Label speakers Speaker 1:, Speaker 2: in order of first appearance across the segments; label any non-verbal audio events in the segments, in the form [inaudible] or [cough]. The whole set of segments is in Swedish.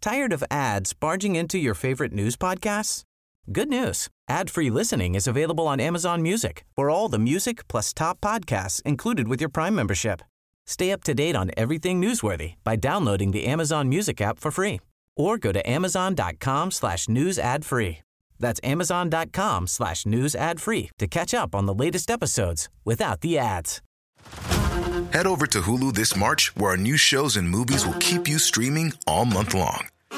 Speaker 1: Tired of ads barging into your favorite news podcasts? Good news. Ad-free listening is available on Amazon Music. For all the music plus top podcasts included with your Prime membership. Stay up to date on everything newsworthy by downloading the Amazon Music app for free or go to amazon.com slash news ad free. That's amazon.com slash news ad free to catch up on the latest episodes without the ads.
Speaker 2: Head over to Hulu this March, where our new shows and movies will keep you streaming all month long.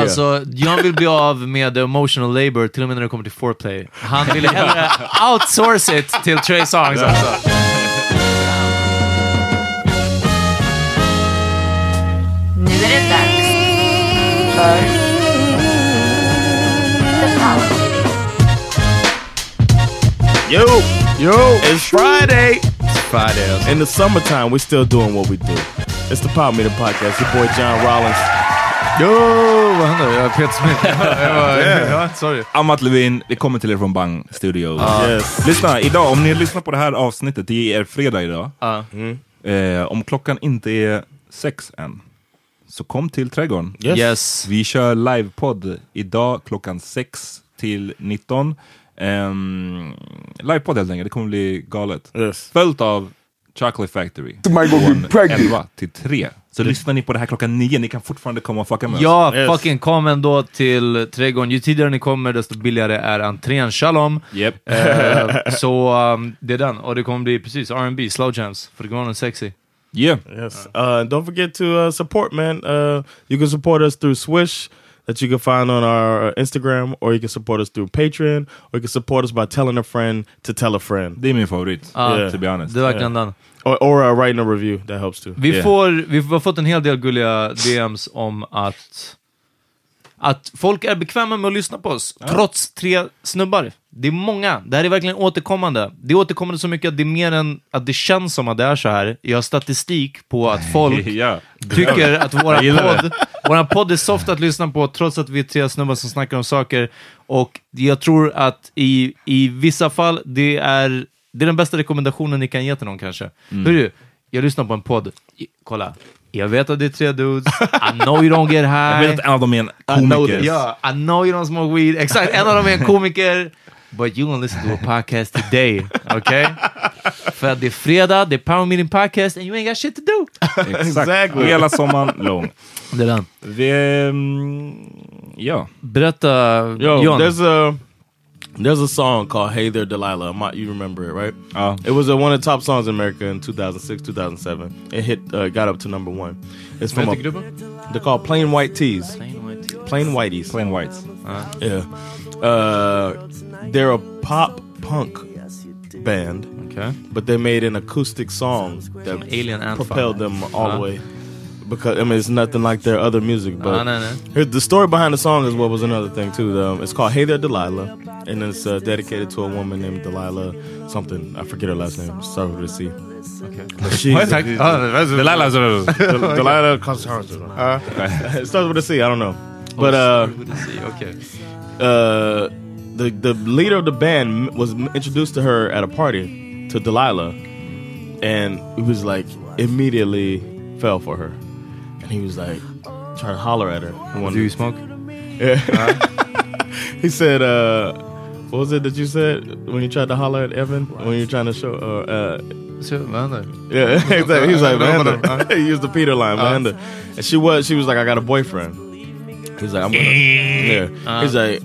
Speaker 3: Alltså, John vill bli av med emotional labor till och med när det kommer till foreplay. Han vill hellre outsource it till Trey Songs alltså.
Speaker 4: Nu är det dags för The Power Meeting.
Speaker 5: Yo,
Speaker 6: Yo,
Speaker 5: it's Friday.
Speaker 6: Friday. alltså.
Speaker 5: In the summertime, we're still doing what we do. It's the Power Meeting Podcast. Your boy John Rollins.
Speaker 6: Yo, vad händer? Jag är Peter
Speaker 3: [laughs]
Speaker 6: Smith. Jag var- ja, sorry.
Speaker 7: Amat Levin, det kommer till er från Bang Studios.
Speaker 5: Yes.
Speaker 7: Lyssna, idag, om ni lyssnar på det här avsnittet, det är fredag idag.
Speaker 3: Ja.
Speaker 7: Eh, om klockan inte är sex än, så kom till trädgården.
Speaker 5: Yes.
Speaker 3: Yes.
Speaker 7: Vi kör livepodd idag klockan 6 till 19. Um, livepodd helt enkelt, det kommer bli galet.
Speaker 5: Yes.
Speaker 7: Följt av Chocolate Factory.
Speaker 5: Michael
Speaker 7: Från
Speaker 5: be pregnant.
Speaker 7: 11 till 3. Så lyssnar ni på det här klockan 9, ni kan fortfarande komma och fucka med oss.
Speaker 3: Mm. Ja,
Speaker 5: Yes.
Speaker 3: fucking kom ändå till trädgården. Ju tidigare ni kommer, desto billigare är entrén. Shalom!
Speaker 7: Yep.
Speaker 3: Eh, så um, det är den. Och det kommer bli precis R&B, slow jams, för det går on sexy.
Speaker 7: Yeah.
Speaker 5: Yes. Uh, don't forget to uh, support, man. Uh, you can support us through Swish that you can find on our uh, Instagram, or you can support us through Patreon, or you can support us by telling a friend to tell a friend,
Speaker 7: Det är min favorit,
Speaker 5: Ja.
Speaker 7: to be honest.
Speaker 3: Det är verkligen den.
Speaker 5: or, or uh, writing a review. That helps too.
Speaker 3: Vi,
Speaker 7: Yeah.
Speaker 3: får, vi har fått en hel del gulliga DMs om att, att folk är bekväma med att lyssna på oss, trots tre snubbar. Det är många. Det här är verkligen återkommande. Det är återkommande så mycket att det är mer än att det känns som att det är så här. Jag har statistik på att folk
Speaker 7: Ja.
Speaker 3: tycker att
Speaker 7: Jag
Speaker 3: våran
Speaker 7: gillar
Speaker 3: podd, våran podd är soft att lyssna på trots att vi är tre snubbar som snackar om saker. Och jag tror att i, i vissa fall, det är, det är den bästa rekommendationen ni kan ge till någon kanske.
Speaker 7: Mm.
Speaker 3: Hörru, jag lyssnar på en podd. I- Kolla. Jag vet att det är tre dudes. I know you don't get high.
Speaker 7: Jag vet att en av dem är en
Speaker 3: I know,
Speaker 7: komiker.
Speaker 3: yeah, I know you don't smoke weed. Exakt, en av dem är en komiker. But you gonna listen to a podcast today,
Speaker 7: [laughs]
Speaker 3: okay? För att det är fredag, det är Power Meeting Podcast and you ain't got shit to do.
Speaker 7: Exakt.
Speaker 3: [laughs]
Speaker 7: Hela sommaren lång.
Speaker 3: Det är den.
Speaker 7: Vi, mm, ja.
Speaker 3: Berätta,
Speaker 5: Yo,
Speaker 3: John.
Speaker 5: there's a there's a song called "Hey There, Delilah." Mott, you remember it, right?
Speaker 7: Ja.
Speaker 5: It was uh, one of the top songs in America in 2006, 2007. It hit, uh, got up to number one. It's from a, they're called Plain White Tees. Plain Whiteys.
Speaker 7: Plain Whites.
Speaker 3: Uh-huh.
Speaker 5: Yeah. Uh, they're a pop punk band,
Speaker 3: Okay.
Speaker 5: but they made an acoustic song that
Speaker 3: Alien anthem.
Speaker 5: propelled them all
Speaker 3: Uh-huh.
Speaker 5: the way. Because I mean, it's nothing like their other music, but
Speaker 3: Uh, no, no.
Speaker 5: Here- the story behind the song is what was another thing too. though. it's called "Hey There, Delilah," and it's uh, dedicated to a woman named Delilah something. I forget her last name. Sorry to see.
Speaker 7: What? Delilah.
Speaker 5: Delilah Constance. Uh, it starts with a C. I don't know,
Speaker 3: Oh,
Speaker 5: but uh,
Speaker 3: Okay.
Speaker 5: uh, the the leader of the band was introduced to her at a party to Delilah, and it was like immediately fell for her, and he was like trying to holler at her. He wanted-
Speaker 3: Do you
Speaker 7: [laughs]
Speaker 3: smoke?
Speaker 5: [laughs] He said, uh, what was it that you said when you tried to holler at Evan? When you're trying to show, uh, uh,
Speaker 3: Så, vad händer?
Speaker 5: yeah, [laughs] exactly. He was like, Vanda. [laughs] he used the Peter line, Vanda.
Speaker 7: [laughs] Uh-huh.
Speaker 5: And she was, she was like, I got a boyfriend. He's like, I'm gonna, yeah. He's like,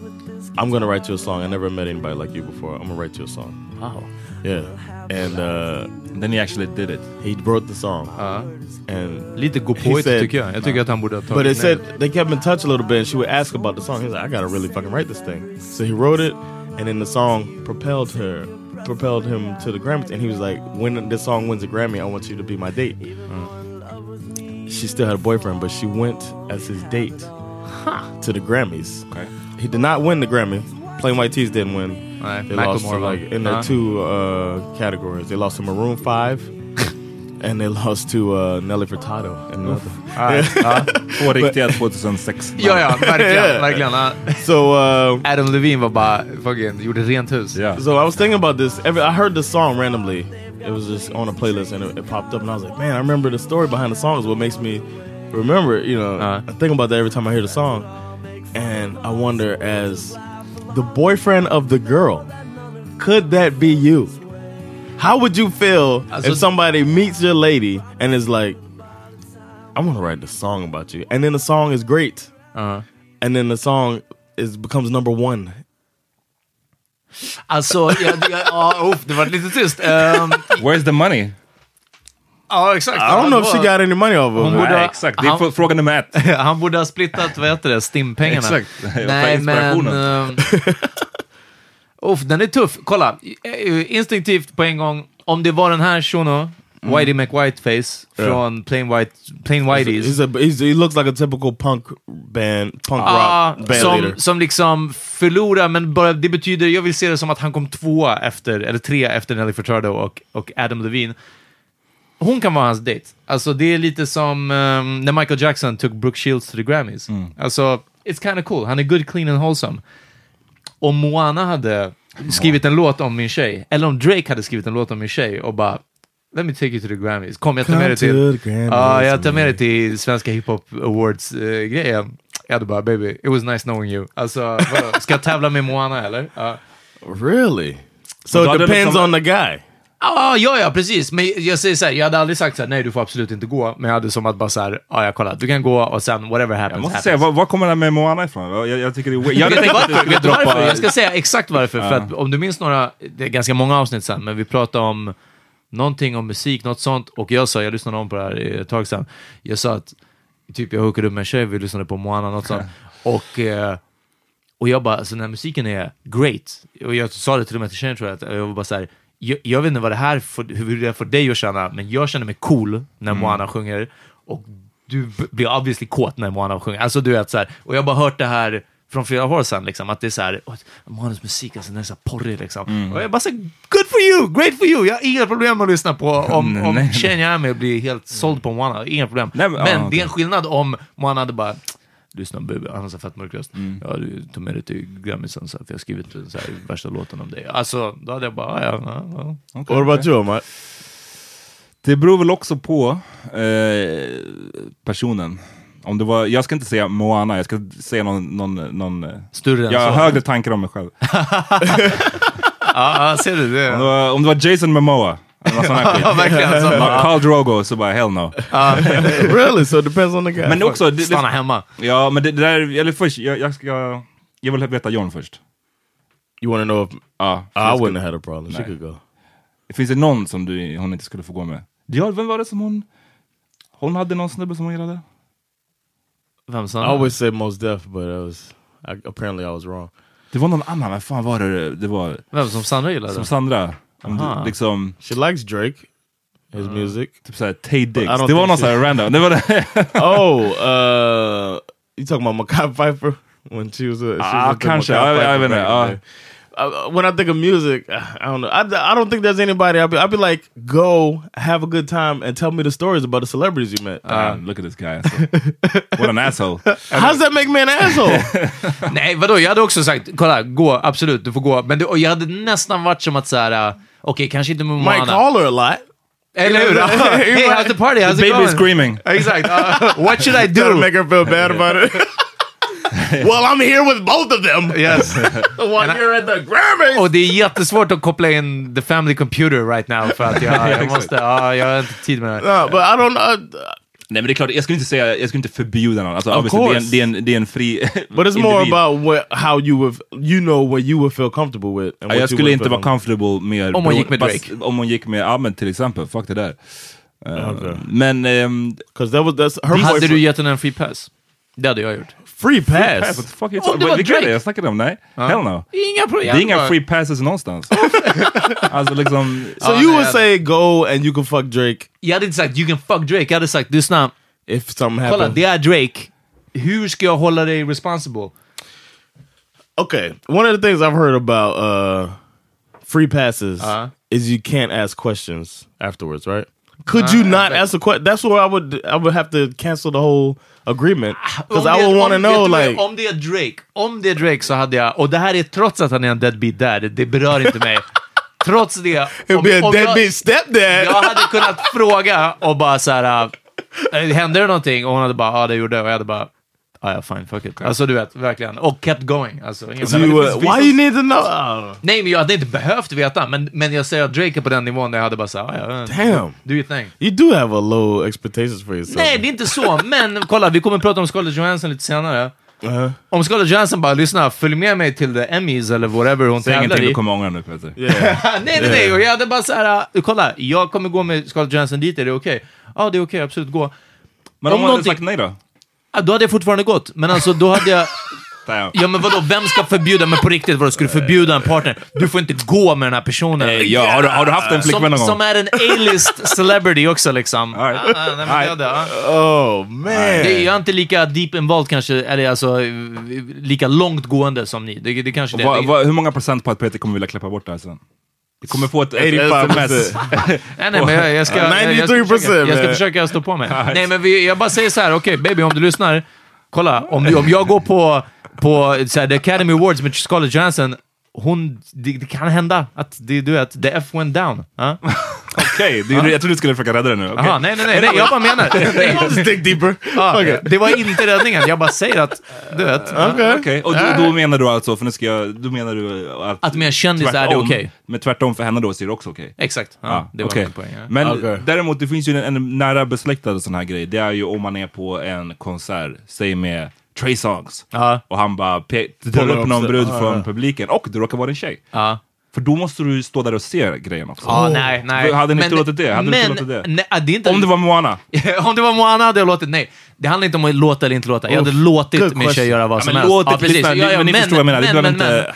Speaker 5: I'm gonna write you a song. I never met anybody like you before. I'm gonna write you a song.
Speaker 7: Wow.
Speaker 5: Yeah. And uh,
Speaker 7: then he actually did it. Uh-huh.
Speaker 5: He wrote the song. And
Speaker 3: Lite gåpåigt tycker jag. Jag tycker att han borde ha tagit
Speaker 5: But
Speaker 3: ner
Speaker 5: it said they kept in touch a little bit. And she would ask about the song. He's like, I gotta really fucking write this thing. So he wrote it, and then the song propelled her, propelled him to the Grammys. And he was like, when this song wins a Grammy, I want you to be my date. She still had a boyfriend, but she went as his date to the Grammys. He did not win the Grammy. Plain White Tees didn't win.
Speaker 3: Nej,
Speaker 5: They lost
Speaker 3: Macklemore
Speaker 5: to,
Speaker 3: vann.
Speaker 5: like in the
Speaker 3: Ja.
Speaker 5: two uh, categories. They lost to Maroon [laughs] Five, and they lost to uh, Nelly Furtado. And
Speaker 3: Nej, ja. [laughs]
Speaker 5: Två
Speaker 7: riktiga 2006.
Speaker 3: Ja, ja,
Speaker 5: [laughs]
Speaker 3: verkligen. verkligen ja.
Speaker 5: So uh,
Speaker 3: Adam Levine var bara, fucking, gjorde rent hus.
Speaker 5: So I was thinking about this. Every, I heard this song randomly. It was just on a playlist and it, it popped up, and I was like, man, I remember the story behind the song is what makes me remember. it, You know, I think about that every time I hear the song, and I wonder as the boyfriend of the girl, could that be you? How would you feel
Speaker 3: Alltså-
Speaker 5: if somebody meets your lady and is like, I want to write the song about you, and then the song is great, and then the song is becomes number one
Speaker 3: Alltså, jag, jag, ja, uff, det var lite tyst.
Speaker 5: [laughs]
Speaker 3: Ehm,
Speaker 7: Where's the money?
Speaker 3: ja, exakt.
Speaker 5: I don't know if she got any money off of
Speaker 3: Hon
Speaker 5: it.
Speaker 3: borde ha-
Speaker 7: Exakt, det är
Speaker 3: han-
Speaker 7: för- fråga nummer
Speaker 3: [laughs]
Speaker 7: ett.
Speaker 3: Han borde ha splittat, vad heter det, stimpengarna.
Speaker 7: Exakt.
Speaker 3: [laughs] Nej, men... ehm, [laughs] Uff, den är tuff. Kolla, eh, instinktivt på en gång, om det var den här shuno,
Speaker 5: Mm.
Speaker 3: Whitey McWhiteface från Plain, White, Plain Whiteys.
Speaker 5: He's a, he's, he looks like a typical punk band, punk
Speaker 7: Ah,
Speaker 3: Ja,
Speaker 5: rock band
Speaker 3: Ah, som,
Speaker 5: leader.
Speaker 3: som liksom förlorar, men bara, det betyder, jag vill se det som att han kom tvåa efter, eller trea efter Nelly Furtado och, och Adam Levine. Hon kan vara hans dejt. Alltså det är lite som ehm, när Michael Jackson tog Brooke Shields to the Grammys. Alltså, it's kind of cool. Han är good, clean and wholesome. Om Moana hade skrivit en låt om min tjej, eller om Drake hade skrivit en låt om min tjej och bara Let me take you to the Grammys. Kom, jag tar
Speaker 5: Come
Speaker 3: med dig
Speaker 5: to
Speaker 3: till...
Speaker 5: the Grammys,
Speaker 3: Ja, jag tar med dig till Svenska Hiphop Awards-grejen. jag hade bara, baby, it was nice knowing you. Alltså, vadå? ska jag tävla med Moana eller? Ja.
Speaker 5: Really? So
Speaker 7: Då
Speaker 5: it
Speaker 7: hade
Speaker 5: depends
Speaker 7: liksom-
Speaker 5: on the guy.
Speaker 3: Ah, ja, ja, precis. Men jag säger så här, jag hade aldrig sagt så här, nej, du får absolut inte gå. Men jag hade som att bara så här, ja, jag kollar, du kan gå och sen whatever happens.
Speaker 7: Jag måste
Speaker 3: happens.
Speaker 7: säga, var, var kommer den här med Moana ifrån? Jag, jag tycker det är weird. Jag
Speaker 3: Jag vet
Speaker 7: hade tänkt att du
Speaker 3: varför.
Speaker 7: skulle
Speaker 3: Vet du varför?
Speaker 7: droppa...
Speaker 3: Jag ska säga exakt varför. För att om du minns några, det är ganska många avsnitt sen, men vi pratade om någonting om musik, något sånt. Och jag sa, jag lyssnade om på det här eh, ett tag sedan, jag sa att typ jag hookade upp med en tjej, vi lyssnade på Moana, något sånt. Och, eh, och jag bara, alltså den här musiken är great. Och jag sa det till och med till tjejen tror jag, att jag var bara så här, jag, jag vet inte vad det här, får, hur det är för dig att känna, men jag känner mig cool när
Speaker 7: Mm.
Speaker 3: Moana sjunger. Och du b- blir obviously kåt när Moana sjunger. Alltså du vet så här, och jag har bara hört det här från flera år sedan, liksom, att det är så här, "Åh, Moanas musik, alltså den är så här porrig liksom.
Speaker 7: Mm.
Speaker 3: Och jag bara så här, good for you, great for you, jag har inga problem med att lyssna
Speaker 7: [laughs]
Speaker 3: på om, om
Speaker 7: Nej.
Speaker 3: tjejen jag är med blir helt såld på Moana, inga problem.
Speaker 7: Nej, men-
Speaker 3: men
Speaker 7: ja,
Speaker 3: det
Speaker 7: okej.
Speaker 3: är en skillnad om Moana hade bara Lyssna bubbe, han har så här fett mörk röst. Ja, du tar med dig till Grammisen så här, för jag har skrivit så här, värsta låten om dig. Alltså, då hade jag bara, ja, ja, ja.
Speaker 7: Okej,
Speaker 5: What
Speaker 7: okej.
Speaker 5: about you, Omar?
Speaker 7: Det beror väl också på eh, personen. Om det var, jag ska inte säga Moana, jag ska säga någon... någon, någon eh,
Speaker 3: Större än
Speaker 7: jag har
Speaker 3: så.
Speaker 7: högre tankar om mig själv.
Speaker 3: Ja, ja, Ah, ser du
Speaker 7: Om
Speaker 3: det?
Speaker 7: det var, om det var Jason Momoa, eller någon sån här skit.
Speaker 3: [laughs] Ja, verkligen. Så
Speaker 7: Bara
Speaker 3: bara,
Speaker 7: Carl Drogo, så bara hell no.
Speaker 5: really? So it depends on the guy.
Speaker 7: Men också... Det,
Speaker 3: stanna
Speaker 7: det,
Speaker 3: hemma.
Speaker 7: ja, men det, det där... Eller först, jag, jag ska... Jag vill veta John först.
Speaker 5: You want to know if
Speaker 7: Ja,
Speaker 5: Ah, I wouldn't have had a problem? She
Speaker 7: Nah.
Speaker 5: could go.
Speaker 7: Finns det någon som du, hon inte skulle få gå med? Ja, vem var det som hon... Hon hade någon snubbe som hon gillade?
Speaker 3: Vem
Speaker 5: I
Speaker 3: sa
Speaker 5: always say most deaf, but I was I, apparently I was wrong.
Speaker 7: Det var någon annan, vad fan var det? Det var
Speaker 3: Vem som Sandra
Speaker 7: som
Speaker 3: gillade?
Speaker 7: Sandra. Om
Speaker 3: Aha.
Speaker 7: du, liksom,
Speaker 5: She likes Drake, his [laughs] music.
Speaker 7: typ såhär Tay
Speaker 5: I
Speaker 7: Diggs.
Speaker 5: don't
Speaker 7: Det
Speaker 5: think
Speaker 7: var någon
Speaker 5: she-
Speaker 7: såhär random. Det
Speaker 5: [laughs]
Speaker 7: var det. [laughs]
Speaker 5: oh, uh, you talking about Makai Pfeiffer when she was a she
Speaker 7: Ah,
Speaker 5: was with the
Speaker 7: kanske.
Speaker 5: Mackay
Speaker 7: I-
Speaker 5: Pfeiffer
Speaker 7: I don't know.
Speaker 5: back in
Speaker 7: Ah.
Speaker 5: the day. Uh, when I think of music, [sighs] I don't know. I, I don't think there's anybody. I'd be, I'd be like, go have a good time and tell me the stories about the celebrities you met.
Speaker 7: Damn, look at
Speaker 5: [laughs]
Speaker 7: this guy. Alltså. What an asshole.
Speaker 5: How's that make
Speaker 7: [laughs]
Speaker 5: me an asshole?
Speaker 3: Nej, vadå? Jag hade också sagt, kolla, gå, absolut, du får gå. Men det, och jag hade nästan varit som att så här, äh, okej, kanske inte med
Speaker 5: Might
Speaker 3: Moana.
Speaker 5: call her a lot.
Speaker 3: Eller hur? hey, how's the party? How's
Speaker 7: The
Speaker 3: it
Speaker 7: baby
Speaker 3: going?
Speaker 7: is screaming.
Speaker 3: Exakt. Uh, what should I
Speaker 5: That'll
Speaker 3: do?
Speaker 5: make her feel bad about it. well, I'm here with both of them.
Speaker 3: [laughs] Yes.
Speaker 5: While
Speaker 3: And I-
Speaker 5: you're at the Grammys.
Speaker 3: Och det är jättesvårt att koppla in the [laughs] family computer right now för att jag, jag måste, ja, jag har inte tid med det.
Speaker 5: No, but I don't. Uh,
Speaker 7: Nej men det är klart, jag skulle inte säga, jag skulle inte förbjuda någon. Alltså,
Speaker 5: Of
Speaker 7: obviously, det, är en,
Speaker 5: course.
Speaker 7: det, är en, det är en fri
Speaker 5: But it's more
Speaker 7: individ.
Speaker 5: about what, how you would, you know what you would feel comfortable with. and
Speaker 7: Ja,
Speaker 5: what
Speaker 7: jag
Speaker 5: you
Speaker 7: skulle
Speaker 5: wouldn't
Speaker 7: inte
Speaker 5: feel
Speaker 7: vara comfortable med...
Speaker 5: Om hon gick med Drake.
Speaker 7: Om hon gick med, ja men till exempel, fuck det där. Eh, Men... Um,
Speaker 5: that was, that's
Speaker 3: Hade du gett henne en free pass? Det hade jag gjort.
Speaker 5: Free
Speaker 7: pass? What the fuck are you
Speaker 3: Om det
Speaker 7: talking
Speaker 3: var
Speaker 7: about? Vilka är det
Speaker 3: Drake.
Speaker 7: jag snackade om? Nej? Hell no.
Speaker 3: Inga
Speaker 7: Det
Speaker 3: problem.
Speaker 7: är inga free passes någonstans. alltså liksom...
Speaker 5: So you would say go and you can fuck Drake.
Speaker 3: Jag hade inte sagt you can fuck Drake, jag hade sagt lyssna.
Speaker 5: If something
Speaker 3: Kolla,
Speaker 5: happened.
Speaker 3: det är Drake. Hur ska jag hålla dig responsible?
Speaker 5: Okay, one of the things I've heard about uh, free passes is you can't ask questions afterwards, right? Could you not ask a question? That's where I would I would have to cancel the whole agreement because
Speaker 3: Om
Speaker 5: I
Speaker 3: det-
Speaker 5: would want to
Speaker 3: om- vet
Speaker 5: know
Speaker 3: du vad,
Speaker 5: like
Speaker 3: Om det är Drake, om det är Drake så hade jag... Och det här är trots att han är en deadbeat dad, det berör inte [laughs] mig. trots det...
Speaker 5: it'd
Speaker 3: om-
Speaker 5: be a
Speaker 3: om jag-
Speaker 5: deadbeat stepdad.
Speaker 3: Jag hade kunnat fråga och bara så här... äh, Hände det någonting? Och hon hade bara, ja ah, det gjorde jag. Och jag hade bara, ah, ja fine, fuck it. Alltså du vet, verkligen. Och kept going. Alltså, ingen-
Speaker 5: So you, uh, why you need to know? Oh,
Speaker 3: Nej, men jag hade inte behövt veta. Men, men jag säger att Drake är på den nivån där jag hade bara såhär, ah, ja,
Speaker 5: Damn.
Speaker 3: do your thing.
Speaker 5: you do have a low expectations for yourself.
Speaker 3: Nej, det är inte så. Men kolla, vi kommer prata om Scarlett Johansson lite senare. Om Scarlett Johansson bara lyssna, följ med mig till the Emmys eller whatever hon
Speaker 7: Säg
Speaker 3: tävlar
Speaker 7: ingenting,
Speaker 3: i.
Speaker 7: du kommer ångra dig nu Peter.
Speaker 3: [laughs] nej, nej, nej. Och jag hade bara såhär, uh, kolla, jag kommer gå med Scarlett Johansson dit, är det okej? Ja, det är okej, absolut, gå.
Speaker 7: Men om,
Speaker 3: Om
Speaker 7: hon hade
Speaker 3: någonting-
Speaker 7: sagt nej då?
Speaker 3: Ah, då hade jag fortfarande gått, men alltså då hade jag...
Speaker 7: Damn.
Speaker 3: Ja men vadå, vem ska förbjuda, men på riktigt vadå, ska du förbjuda en partner? Du får inte gå med den här personen.
Speaker 7: Nej, ja, Eh, har, du, har du haft en flickvän någon
Speaker 3: som,
Speaker 7: gång?
Speaker 3: som är en A-list celebrity också liksom.
Speaker 7: All right.
Speaker 3: Ah, ah, nej, men det hade jag, ah.
Speaker 5: Oh man,
Speaker 3: Det är jag inte lika deep involved kanske, eller alltså eh, lika långt gående som ni. Det, det kanske det.
Speaker 7: Va,
Speaker 3: det
Speaker 7: va, hur många procent på att Peter kommer vilja klippa bort det här sen? Du kommer få ett, ett
Speaker 5: 85%.
Speaker 7: sms.
Speaker 3: nej, nej, men jag, jag ska, jag, jag ska,
Speaker 5: 93%,
Speaker 3: försöka, jag ska
Speaker 5: man.
Speaker 3: försöka stå på mig. Nej, men vi, jag bara säger så här, okej baby om du lyssnar, kolla, om, du, om jag går på, på så här, The Academy Awards med Scarlett Johansson, hon, det, det kan hända att det, du vet, the F went down. Ah?
Speaker 7: Okej, du- jag trodde du skulle försöka rädda det nu. Okej.
Speaker 3: Aha, nej, nej, nej, nej, jag bara
Speaker 7: [laughs]
Speaker 3: menar. Nej,
Speaker 5: [laughs] I'll just dig deeper.
Speaker 3: ah,
Speaker 5: Okay.
Speaker 3: Det var inte räddningen, jag bara säger att, du vet. ah.
Speaker 5: Okay.
Speaker 7: Okej, och då, då menar du alltså, för nu ska jag, då menar du att...
Speaker 3: Att med en kändis är det
Speaker 7: tvärtom-
Speaker 3: okej.
Speaker 7: Men tvärtom för henne då så är det också okej.
Speaker 3: Exakt, ah,
Speaker 7: Ja,
Speaker 3: det var
Speaker 7: okej.
Speaker 3: min poäng. ja.
Speaker 7: Men
Speaker 5: Okej.
Speaker 7: däremot, det finns ju en, en nära besläktad sån här grej. Det är ju om man är på en konsert, säg med Trey Songs,
Speaker 3: Ja.
Speaker 7: och han bara pe- drar upp
Speaker 5: upp
Speaker 7: någon
Speaker 5: sig.
Speaker 7: brud
Speaker 5: Ja,
Speaker 7: från
Speaker 5: ja.
Speaker 7: publiken och det råkar vara en tjej.
Speaker 3: Ja.
Speaker 7: För då måste du ju stå där och se grejen också.
Speaker 3: Ja, nej, nej.
Speaker 7: Hade ni
Speaker 3: Men-
Speaker 7: tillåtit det? Hade ni
Speaker 3: men,
Speaker 7: tillåtit det?
Speaker 3: Nej, det är inte,
Speaker 7: Om det var Moana.
Speaker 3: [laughs] om det var Moana hade jag låtit nej. Det handlar inte om att låta eller inte låta. Jag hade
Speaker 5: Uff,
Speaker 3: låtit
Speaker 5: good
Speaker 3: min tjej
Speaker 5: question.
Speaker 3: göra vad
Speaker 7: Ja,
Speaker 3: som
Speaker 7: men
Speaker 3: helst.
Speaker 7: låt det lyssna. Ni- men ni förstår vad jag menar. Vi behöver inte-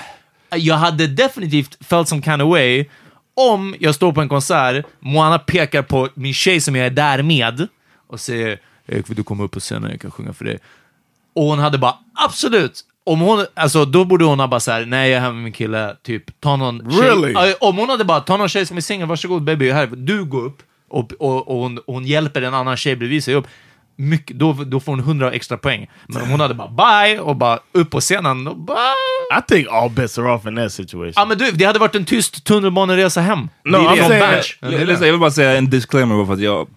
Speaker 3: men. Jag hade definitivt felt some kind of way om jag står på en konsert, Moana pekar på min tjej som jag är där med och säger "Erik, vill du komma upp på scenen? Jag kan sjunga för dig. Och hon hade bara absolut. Om hon, alltså då borde hon ha bara såhär, nej jag är hemma med min kille, typ ta någon tjej.
Speaker 5: Really?
Speaker 3: Ja, Om hon hade bara, ta någon tjej som är singel, varsågod baby, här, du går upp och, och, och hon, hon hjälper en annan tjej bredvid sig upp. Mycket, då, då får hon 100 extra poäng. Men om hon hade bara bye och bara upp på scenen, då bara...
Speaker 5: I think all bets are off in that situation.
Speaker 3: Ja men du, det hade varit en tyst tunnelbaneresa hem.
Speaker 5: No,
Speaker 3: det är
Speaker 5: I'm
Speaker 3: det. Från
Speaker 5: saying-
Speaker 3: Berns.
Speaker 7: alltså, eh, Jag, jag, jag vill bara säga en disclaimer bara för att jag...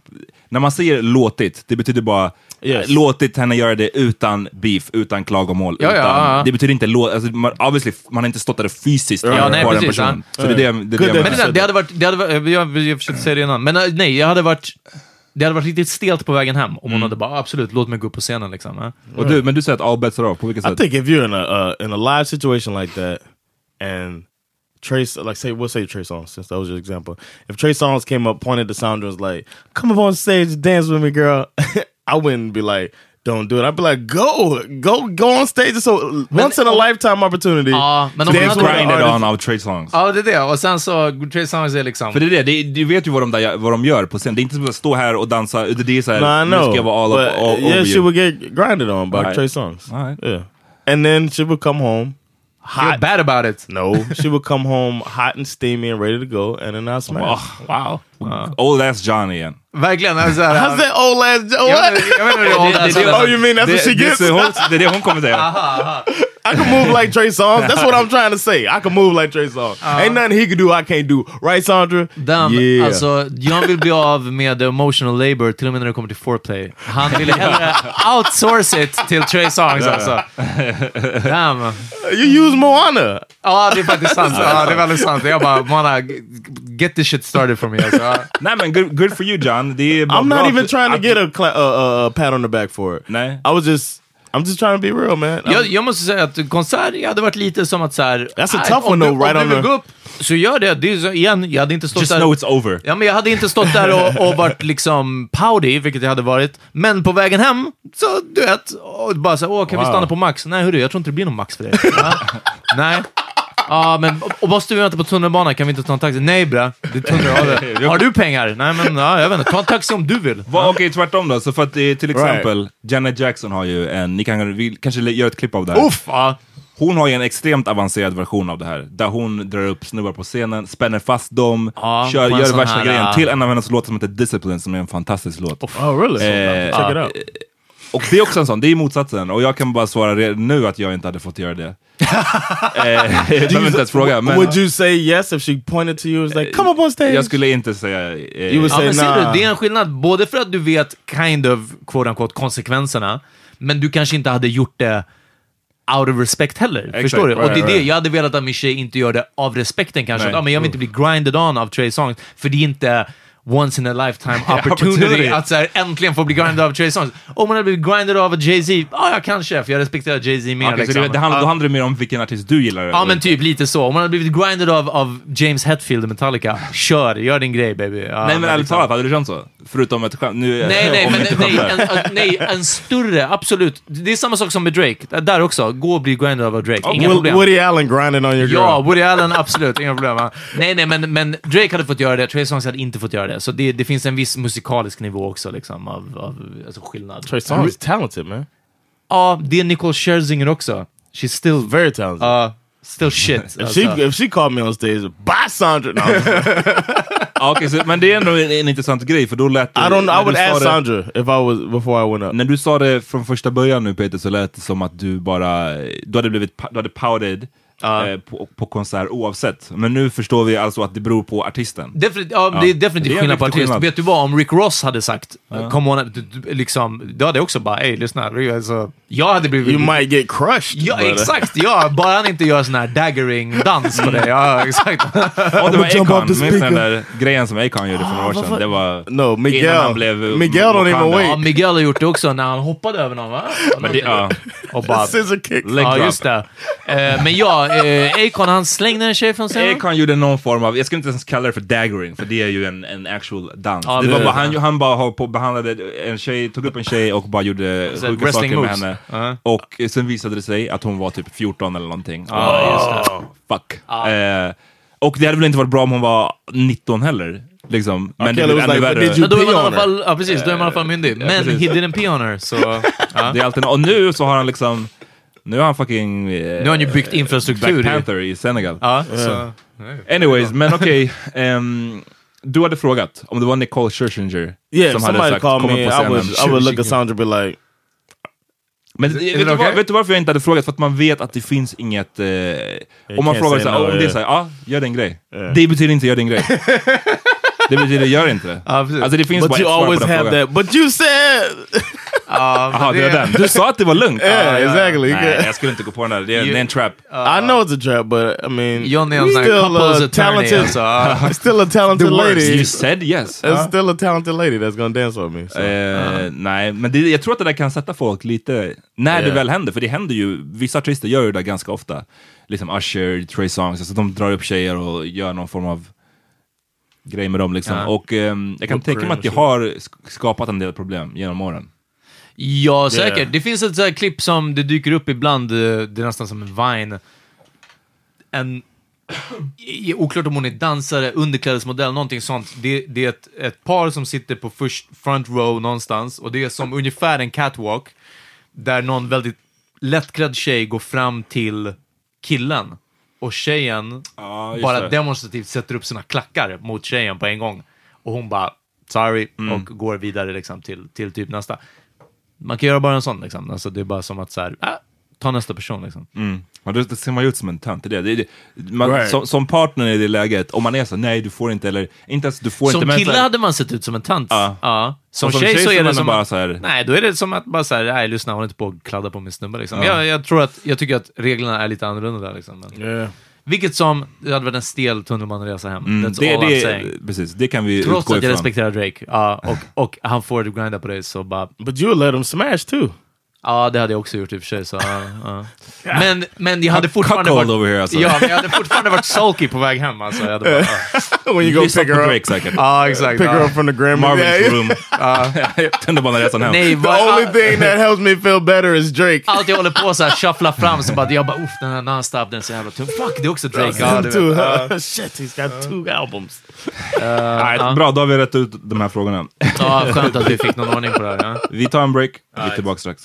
Speaker 7: När man säger låtit, det betyder bara
Speaker 5: Yes.
Speaker 7: eh, låtit henne göra det utan beef, utan klagomål.
Speaker 3: Ja, ja,
Speaker 7: utan,
Speaker 3: ja, ja.
Speaker 7: Det betyder inte låt... Alltså, man, obviously, man har inte stått där fysiskt
Speaker 3: Ja,
Speaker 7: för
Speaker 3: nej,
Speaker 7: bara en
Speaker 3: precis,
Speaker 7: person.
Speaker 3: ja.
Speaker 7: Så det är det, jag- det, är det
Speaker 5: Good
Speaker 7: jag
Speaker 3: Men
Speaker 7: menar.
Speaker 3: det, där, det hade varit, det hade varit jag, jag försökte säga det innan, men eh, nej, jag hade varit, det hade varit riktigt stelt på vägen hem om
Speaker 7: Mm.
Speaker 3: hon hade bara absolut, låt mig gå upp på scenen liksom. eh.
Speaker 7: Och du, men du säger att all bets are off, på vilket
Speaker 5: I
Speaker 7: sätt?
Speaker 5: think if you're in a uh, in a live situation like that, and Trace, like say we'll say Trey Songs since that was your example. If Trey Songs came up, pointed to Sandra, and was like, "Come up on stage, dance with me, girl," [laughs] I wouldn't be like, "Don't do it." I'd be like, "Go, go, go on stage." It's a once in
Speaker 7: oh,
Speaker 5: a lifetime opportunity.
Speaker 7: uh,
Speaker 3: Ah, men
Speaker 5: to
Speaker 3: om
Speaker 5: dance
Speaker 3: man
Speaker 5: with an
Speaker 7: Grinded
Speaker 5: artist.
Speaker 7: on av Trey Songs.
Speaker 3: Ja, det är det. Och sen så, Trey Songz är liksom...
Speaker 7: För det är det, det är, du vet ju vad de, där, vad de gör på scen. Det är inte som att stå här och dansa, det det är såhär,
Speaker 5: No, I
Speaker 7: nu ska
Speaker 5: know.
Speaker 7: jag vara all,
Speaker 5: but
Speaker 7: up, all
Speaker 5: yeah,
Speaker 7: over
Speaker 5: she
Speaker 7: you.
Speaker 5: would get grinded on by
Speaker 7: Alright.
Speaker 5: Trey Songs.
Speaker 7: Alright.
Speaker 5: Yeah, and then she would come home.
Speaker 3: You're bad about it.
Speaker 5: No, she would come home hot and steamy and ready to go, and then I smash.
Speaker 7: Oh, wow. Old ass John igen.
Speaker 3: [laughs] Verkligen. Alltså, jag,
Speaker 5: How's that old ass? What?
Speaker 3: vet- jag vet inte hur det är.
Speaker 5: oh, you mean that's
Speaker 7: Det-
Speaker 5: what she
Speaker 7: det-
Speaker 5: gets?
Speaker 7: Det, hon- det är det hon kommer säga.
Speaker 5: I can move like Trey Songz. That's what
Speaker 7: [laughs]
Speaker 5: I'm trying to say. I can move like Trey Songz.
Speaker 7: Uh-huh.
Speaker 3: Ja.
Speaker 5: Ain't nothing he can do I can't do. Right, Sandra?
Speaker 3: Damn,
Speaker 5: Yeah.
Speaker 3: alltså, jag vill bli av med the emotional labor till och med när det kommer till foreplay. Han
Speaker 7: [laughs]
Speaker 3: ville hellre outsource it till Trey Songs alltså. Damn.
Speaker 5: You use Moana.
Speaker 3: Ja, det är faktiskt sant. [laughs] Ja, det är väldigt sant. Jag bara, Moana, get this shit started for me. Alltså. Ja.
Speaker 7: Nej men good, good for you John. Det är bara
Speaker 5: I'm
Speaker 7: bra
Speaker 5: not
Speaker 7: att-
Speaker 5: even trying to
Speaker 7: att-
Speaker 5: get a, cla- a, a, a pat on the back for it. I was just, I'm just trying to be real, man. I'm-
Speaker 3: Jag, jag måste säga att konsert, jag hade varit lite som att så här,
Speaker 5: That's a
Speaker 3: nej,
Speaker 5: tough
Speaker 3: om
Speaker 5: one
Speaker 3: du-
Speaker 5: though, right
Speaker 3: Om
Speaker 5: on
Speaker 3: du
Speaker 5: the-
Speaker 3: vill gå upp, så gör det. det är så, igen, jag hade inte stått
Speaker 7: Just
Speaker 3: där...
Speaker 7: know it's over.
Speaker 3: Ja, men jag hade inte stått där och, och varit liksom pouty, vilket jag hade varit. Men på vägen hem, så du vet, och bara så här, åh, kan vi
Speaker 7: Wow.
Speaker 3: stanna på Max? Nej, hörru, jag tror inte det blir någon Max för dig. [laughs] Ja. Nej. Ja, men och- och måste vi vänta på tunnelbanan? Kan vi inte ta en taxi? Nej, bra. Det är
Speaker 7: [laughs]
Speaker 3: tunnelbanan. Har du pengar? Nej, men ja, jag vet inte. Ta en taxi om du vill.
Speaker 7: Va, Okej, tvärtom då. Så för att det är till exempel, Janet Jackson har ju en, ni kan vi kanske lä- göra ett klipp av det här.
Speaker 3: Uff! Ja.
Speaker 7: Hon har ju en extremt avancerad version av det här, där hon drar upp snubbar på scenen, spänner fast dem,
Speaker 3: Ja,
Speaker 7: kör,
Speaker 3: på en
Speaker 7: gör
Speaker 3: sån
Speaker 7: värsta
Speaker 3: här,
Speaker 7: grejen
Speaker 3: ah.
Speaker 7: till en av hennes låtar som heter Discipline, som är en fantastisk låt.
Speaker 5: Oh, really?
Speaker 7: Eh,
Speaker 5: Check it out.
Speaker 7: Och det är också en sån, det är motsatsen. Och jag kan bara svara re- nu att jag inte hade
Speaker 3: [laughs]
Speaker 7: fått göra det. eh, jag behöver inte ens fråga, men
Speaker 5: Would you say yes if she pointed to you? It's like, come up on stage.
Speaker 7: jag skulle inte säga... Eh,
Speaker 5: You would
Speaker 3: Ja,
Speaker 5: say
Speaker 3: men ser
Speaker 5: nah.
Speaker 3: du, det är en skillnad. Både för att du vet kind of, quote unquote, konsekvenserna, men du kanske inte hade gjort det out of respect heller. förstår du?
Speaker 7: right,
Speaker 3: och det är det,
Speaker 7: right.
Speaker 3: jag hade velat att min tjej inte gör det av respekten kanske.
Speaker 7: Nej.
Speaker 3: Att, Ja, men jag vill inte bli grinded on av Trey Songs, för det är inte once in a
Speaker 7: [laughs]
Speaker 3: lifetime opportunity
Speaker 7: opportunity.
Speaker 3: att så här, äntligen få bli grinded av Trey Songs. Om man hade blivit grinded av Jay-Z, ja, ja, kanske, för jag respekterar Jay-Z mer.
Speaker 7: Okej, så
Speaker 3: liksom.
Speaker 7: det, det handlar, då handlar det mer om vilken artist du gillar.
Speaker 3: Ja men typ lite så. Om man hade blivit grinded av, av James Hetfield och Metallica, kör, gör din grej baby. Ja,
Speaker 7: nej men ärligt
Speaker 3: liksom.
Speaker 7: talat, hade du känt så? Förutom ett skämt. Nu,
Speaker 3: Nej, nej,
Speaker 7: om
Speaker 3: men
Speaker 7: inte
Speaker 3: nej
Speaker 7: skämt.
Speaker 3: en, en, nej, en större, absolut. Det är samma sak som med Drake. Där också, gå och bli grinded av Drake. Inga
Speaker 5: Oh, Will-
Speaker 3: problem.
Speaker 5: Woody Allen grinding on your girl.
Speaker 3: Ja, Woody Allen, absolut. Inga problem. va? Nej, nej, men, men Drake hade fått göra det. Trey Songz hade inte fått göra det. Så det, det finns en viss musikalisk nivå också, liksom, av, av alltså skillnad.
Speaker 5: Trey Songz is talented, man.
Speaker 3: Ja, det är Nicole Scherzinger också. She's still,
Speaker 5: Very talented.
Speaker 3: uh, still shit.
Speaker 5: if,
Speaker 3: alltså.
Speaker 5: she, if she called me on stage, bye, Sandra. No, I'm just-
Speaker 7: Ja, okej, så, men det är ändå en, en intressant grej, för då lät det...
Speaker 5: I don't.
Speaker 7: när
Speaker 5: I
Speaker 7: du
Speaker 5: would
Speaker 7: sa
Speaker 5: ask
Speaker 7: det-
Speaker 5: Sandra if I was before I went up.
Speaker 7: När du sa det från första början nu Peter, så lät det som att du bara... Du hade blivit pa- du hade pouted eh, på, på konsert oavsett. Men nu förstår vi alltså att det beror på artisten.
Speaker 5: [laughs]
Speaker 3: Definitivt, ja,
Speaker 7: Ja.
Speaker 3: Det är
Speaker 7: Det är
Speaker 3: definitivt
Speaker 7: en
Speaker 3: skillnad på
Speaker 7: riktig
Speaker 3: artist.
Speaker 7: skillnad.
Speaker 3: Vet du vad, om Rick Ross hade sagt Come on, du- du- liksom, då hade jag också bara, ey lyssna, alltså, jag hade blivit...
Speaker 5: You might get crushed.
Speaker 3: Ja,
Speaker 5: but, uh, [laughs]
Speaker 3: exakt! Ja, bara han inte gör sån här daggering-dans på dig. Ja,
Speaker 7: Mm.
Speaker 3: exakt.
Speaker 7: [laughs] Ja, det var
Speaker 5: jump off
Speaker 7: Akon.
Speaker 5: the
Speaker 7: Minns du den
Speaker 5: speaker.
Speaker 7: där grejen som Akon gjorde för några år sedan? Det var...
Speaker 5: Ah, No, Miguel.
Speaker 7: Innan han blev, eh,
Speaker 5: Miguel don't even
Speaker 7: Wakanda.
Speaker 3: Ja,
Speaker 5: wait.
Speaker 3: Miguel har gjort det också när han hoppade över någon, va?
Speaker 7: Men det, ja.
Speaker 3: Och
Speaker 7: [laughs]
Speaker 3: bara...
Speaker 5: Scissor kick.
Speaker 7: leg
Speaker 3: Ja,
Speaker 7: drop.
Speaker 3: just det. Eh, men ja, eh, Akon, han slängde en tjej från scenen.
Speaker 7: Akon gjorde någon form av, jag skulle inte ens kalla det för daggering, för det är ju en, en actual dans.
Speaker 3: Ja,
Speaker 7: det var
Speaker 3: det-
Speaker 7: bara, han, han bara har på, behandlade en tjej, tog upp en tjej och bara gjorde
Speaker 3: Så
Speaker 7: sjuka
Speaker 3: Alltså, wrestling
Speaker 7: saker
Speaker 3: moves.
Speaker 7: med henne.
Speaker 3: Ja.
Speaker 7: Och eh, sen visade det sig att hon var typ 14 eller någonting. Och bara, Fuck. Eh, och det hade väl inte varit bra om hon var 19 heller. Liksom. Men
Speaker 5: Kelly
Speaker 7: det blev
Speaker 5: was
Speaker 7: ännu
Speaker 5: like,
Speaker 7: värre.
Speaker 5: "Did you
Speaker 3: Men då är man i
Speaker 5: pee on
Speaker 3: alla
Speaker 5: her?"
Speaker 3: fall, ja, precis, då är man i alla fall myndig. Men
Speaker 7: precis.
Speaker 3: he didn't pee on her,
Speaker 7: [laughs]
Speaker 3: så... Ja.
Speaker 7: Det är alltid, och nu så har han liksom, nu har han fucking... eh,
Speaker 3: Nu har han ju byggt infrastruktur.
Speaker 7: Black
Speaker 3: i-
Speaker 7: Panther Eh, i Senegal.
Speaker 3: Ja, så.
Speaker 7: Anyways, men okej. ehm, du hade frågat om det var Nicole Scherzinger
Speaker 5: Yeah, if
Speaker 7: som hade
Speaker 5: somebody
Speaker 7: sagt
Speaker 5: called
Speaker 7: kom
Speaker 5: me,
Speaker 7: upp på
Speaker 5: I
Speaker 7: scenen.
Speaker 5: would, I would look at Sandra and be like,
Speaker 7: Men vet,
Speaker 3: det
Speaker 7: du var,
Speaker 3: okej?
Speaker 7: vet du varför jag inte hade frågat? För att man vet att det finns inget... Eh, om man
Speaker 5: can't
Speaker 7: frågar
Speaker 5: say
Speaker 7: så här,
Speaker 5: no,
Speaker 7: om det är
Speaker 5: yeah.
Speaker 7: såhär, ja, gör din grej. Det betyder inte gör din grej. det betyder gör
Speaker 5: [laughs]
Speaker 7: inte det.
Speaker 3: Ja, precis.
Speaker 7: alltså det finns
Speaker 5: but
Speaker 7: bara
Speaker 5: you
Speaker 7: ett svar på
Speaker 5: always
Speaker 7: den
Speaker 5: have
Speaker 7: frågan.
Speaker 5: that. But
Speaker 3: [laughs]
Speaker 5: you said,
Speaker 3: Ja, men
Speaker 7: Jaha, det var den. Du sa att det var
Speaker 5: [laughs]
Speaker 7: lugnt.
Speaker 5: yeah,
Speaker 7: Ah, ja, ja.
Speaker 5: exactly.
Speaker 7: Nej, jag skulle inte gå på den där. Det är, det är en trap.
Speaker 5: I know it's a trap, but I mean,
Speaker 3: John
Speaker 5: we
Speaker 3: Leon's Uh, like couples attorney,
Speaker 5: talented,
Speaker 3: so,
Speaker 5: [laughs]
Speaker 3: uh,
Speaker 5: still a talented lady.
Speaker 7: You said yes.
Speaker 5: It's still a talented lady that's gonna dance with me. So.
Speaker 7: Eh, Nej, men det, jag tror att det där kan sätta folk lite, när det
Speaker 5: Yeah.
Speaker 7: väl händer, för det händer ju, vissa artister gör ju det där ganska ofta. Liksom Usher, Trey Songz, alltså de drar upp tjejer och gör någon form av grej med dem liksom.
Speaker 3: Ja.
Speaker 7: Och ehm, jag kan tänka mig att det har sk- skapat en del problem genom åren.
Speaker 3: Ja, säkert.
Speaker 5: Yeah.
Speaker 3: Det finns ett så här klipp som det dyker upp ibland, eh, det är nästan som en Vine. En, i- oklart om hon är dansare, underklädesmodell, någonting sånt. Det, det är ett, ett par som sitter på först, front row någonstans och det är som ungefär en catwalk där någon väldigt lättklädd tjej går fram till killen och tjejen
Speaker 7: Ja, just
Speaker 3: bara
Speaker 7: det.
Speaker 3: demonstrativt sätter upp sina klackar mot tjejen på en gång och hon bara sorry
Speaker 7: Mm.
Speaker 3: och går vidare liksom till, till typ nästa. Man kan göra bara en sån liksom. Alltså, det är bara som att så här, äh, ta nästa person liksom.
Speaker 7: Mm. Ja, det, det ser man ju ut som en tönt. Det, är det, det, man,
Speaker 3: Right.
Speaker 7: som, som partner i det läget, om man är så nej du får inte, eller inte ens du får
Speaker 3: Som
Speaker 7: inte. men så
Speaker 3: kille
Speaker 7: här-
Speaker 3: hade man sett ut som en tant.
Speaker 7: Ja.
Speaker 3: Ja. Som,
Speaker 7: Och som
Speaker 3: tjej,
Speaker 7: tjej
Speaker 3: så
Speaker 7: så
Speaker 3: är
Speaker 7: är
Speaker 3: det
Speaker 7: man
Speaker 3: som
Speaker 7: bara
Speaker 3: att,
Speaker 7: så här-
Speaker 3: Nej, då är det som att bara så här, nej lyssna, håll inte på och kladda på min snubbe liksom.
Speaker 7: Ja.
Speaker 3: Jag, jag tror att, jag tycker att reglerna är lite annorlunda där liksom. Men, Vilket som, det hade varit en stel tunnelbaneresa hem.
Speaker 7: Mm,
Speaker 3: That's
Speaker 7: det-
Speaker 3: all I'm
Speaker 7: det-
Speaker 3: saying.
Speaker 7: precis, det kan vi
Speaker 3: Trots
Speaker 7: utgå
Speaker 3: att jag
Speaker 7: ifrån.
Speaker 3: respekterar Drake, ja, och, och han får grinda på dig så bara...
Speaker 5: But you let him smash too.
Speaker 3: Ja, det hade jag också gjort i och för sig. Så, ja, ja. Men, men jag hade fortfarande
Speaker 7: Cuckold
Speaker 3: varit...
Speaker 7: over here, alltså.
Speaker 3: Ja, men jag hade fortfarande varit sulky på väg hem alltså. Jag hade bara, ja.
Speaker 5: When you go
Speaker 7: Lyssna
Speaker 5: pick
Speaker 7: på
Speaker 5: her up.
Speaker 7: Drake säkert.
Speaker 3: Ja, exakt.
Speaker 5: Pick her
Speaker 3: ja.
Speaker 5: up from the grandma.
Speaker 7: Marvin's
Speaker 5: Yeah. [laughs]
Speaker 7: room. Tunnelbaneresan hem.
Speaker 3: Nej,
Speaker 5: The
Speaker 3: vad-
Speaker 5: only
Speaker 3: ah,
Speaker 5: thing that helps me feel better is Drake.
Speaker 3: Allt jag håller på så här, shuffla fram, så bara, jag bara uff, den här non-stop, den är så jävla tung. Fuck, Alltså, det är också Drake. Ja, du
Speaker 5: Him too,
Speaker 3: vet.
Speaker 5: huh? [laughs] Shit, he's got two albums.
Speaker 7: Nej, Bra, då har vi rätt ut de här frågorna.
Speaker 3: ja, skönt att vi fick någon ordning på det här. Ja.
Speaker 7: Vi tar en break, vi är tillbaka strax.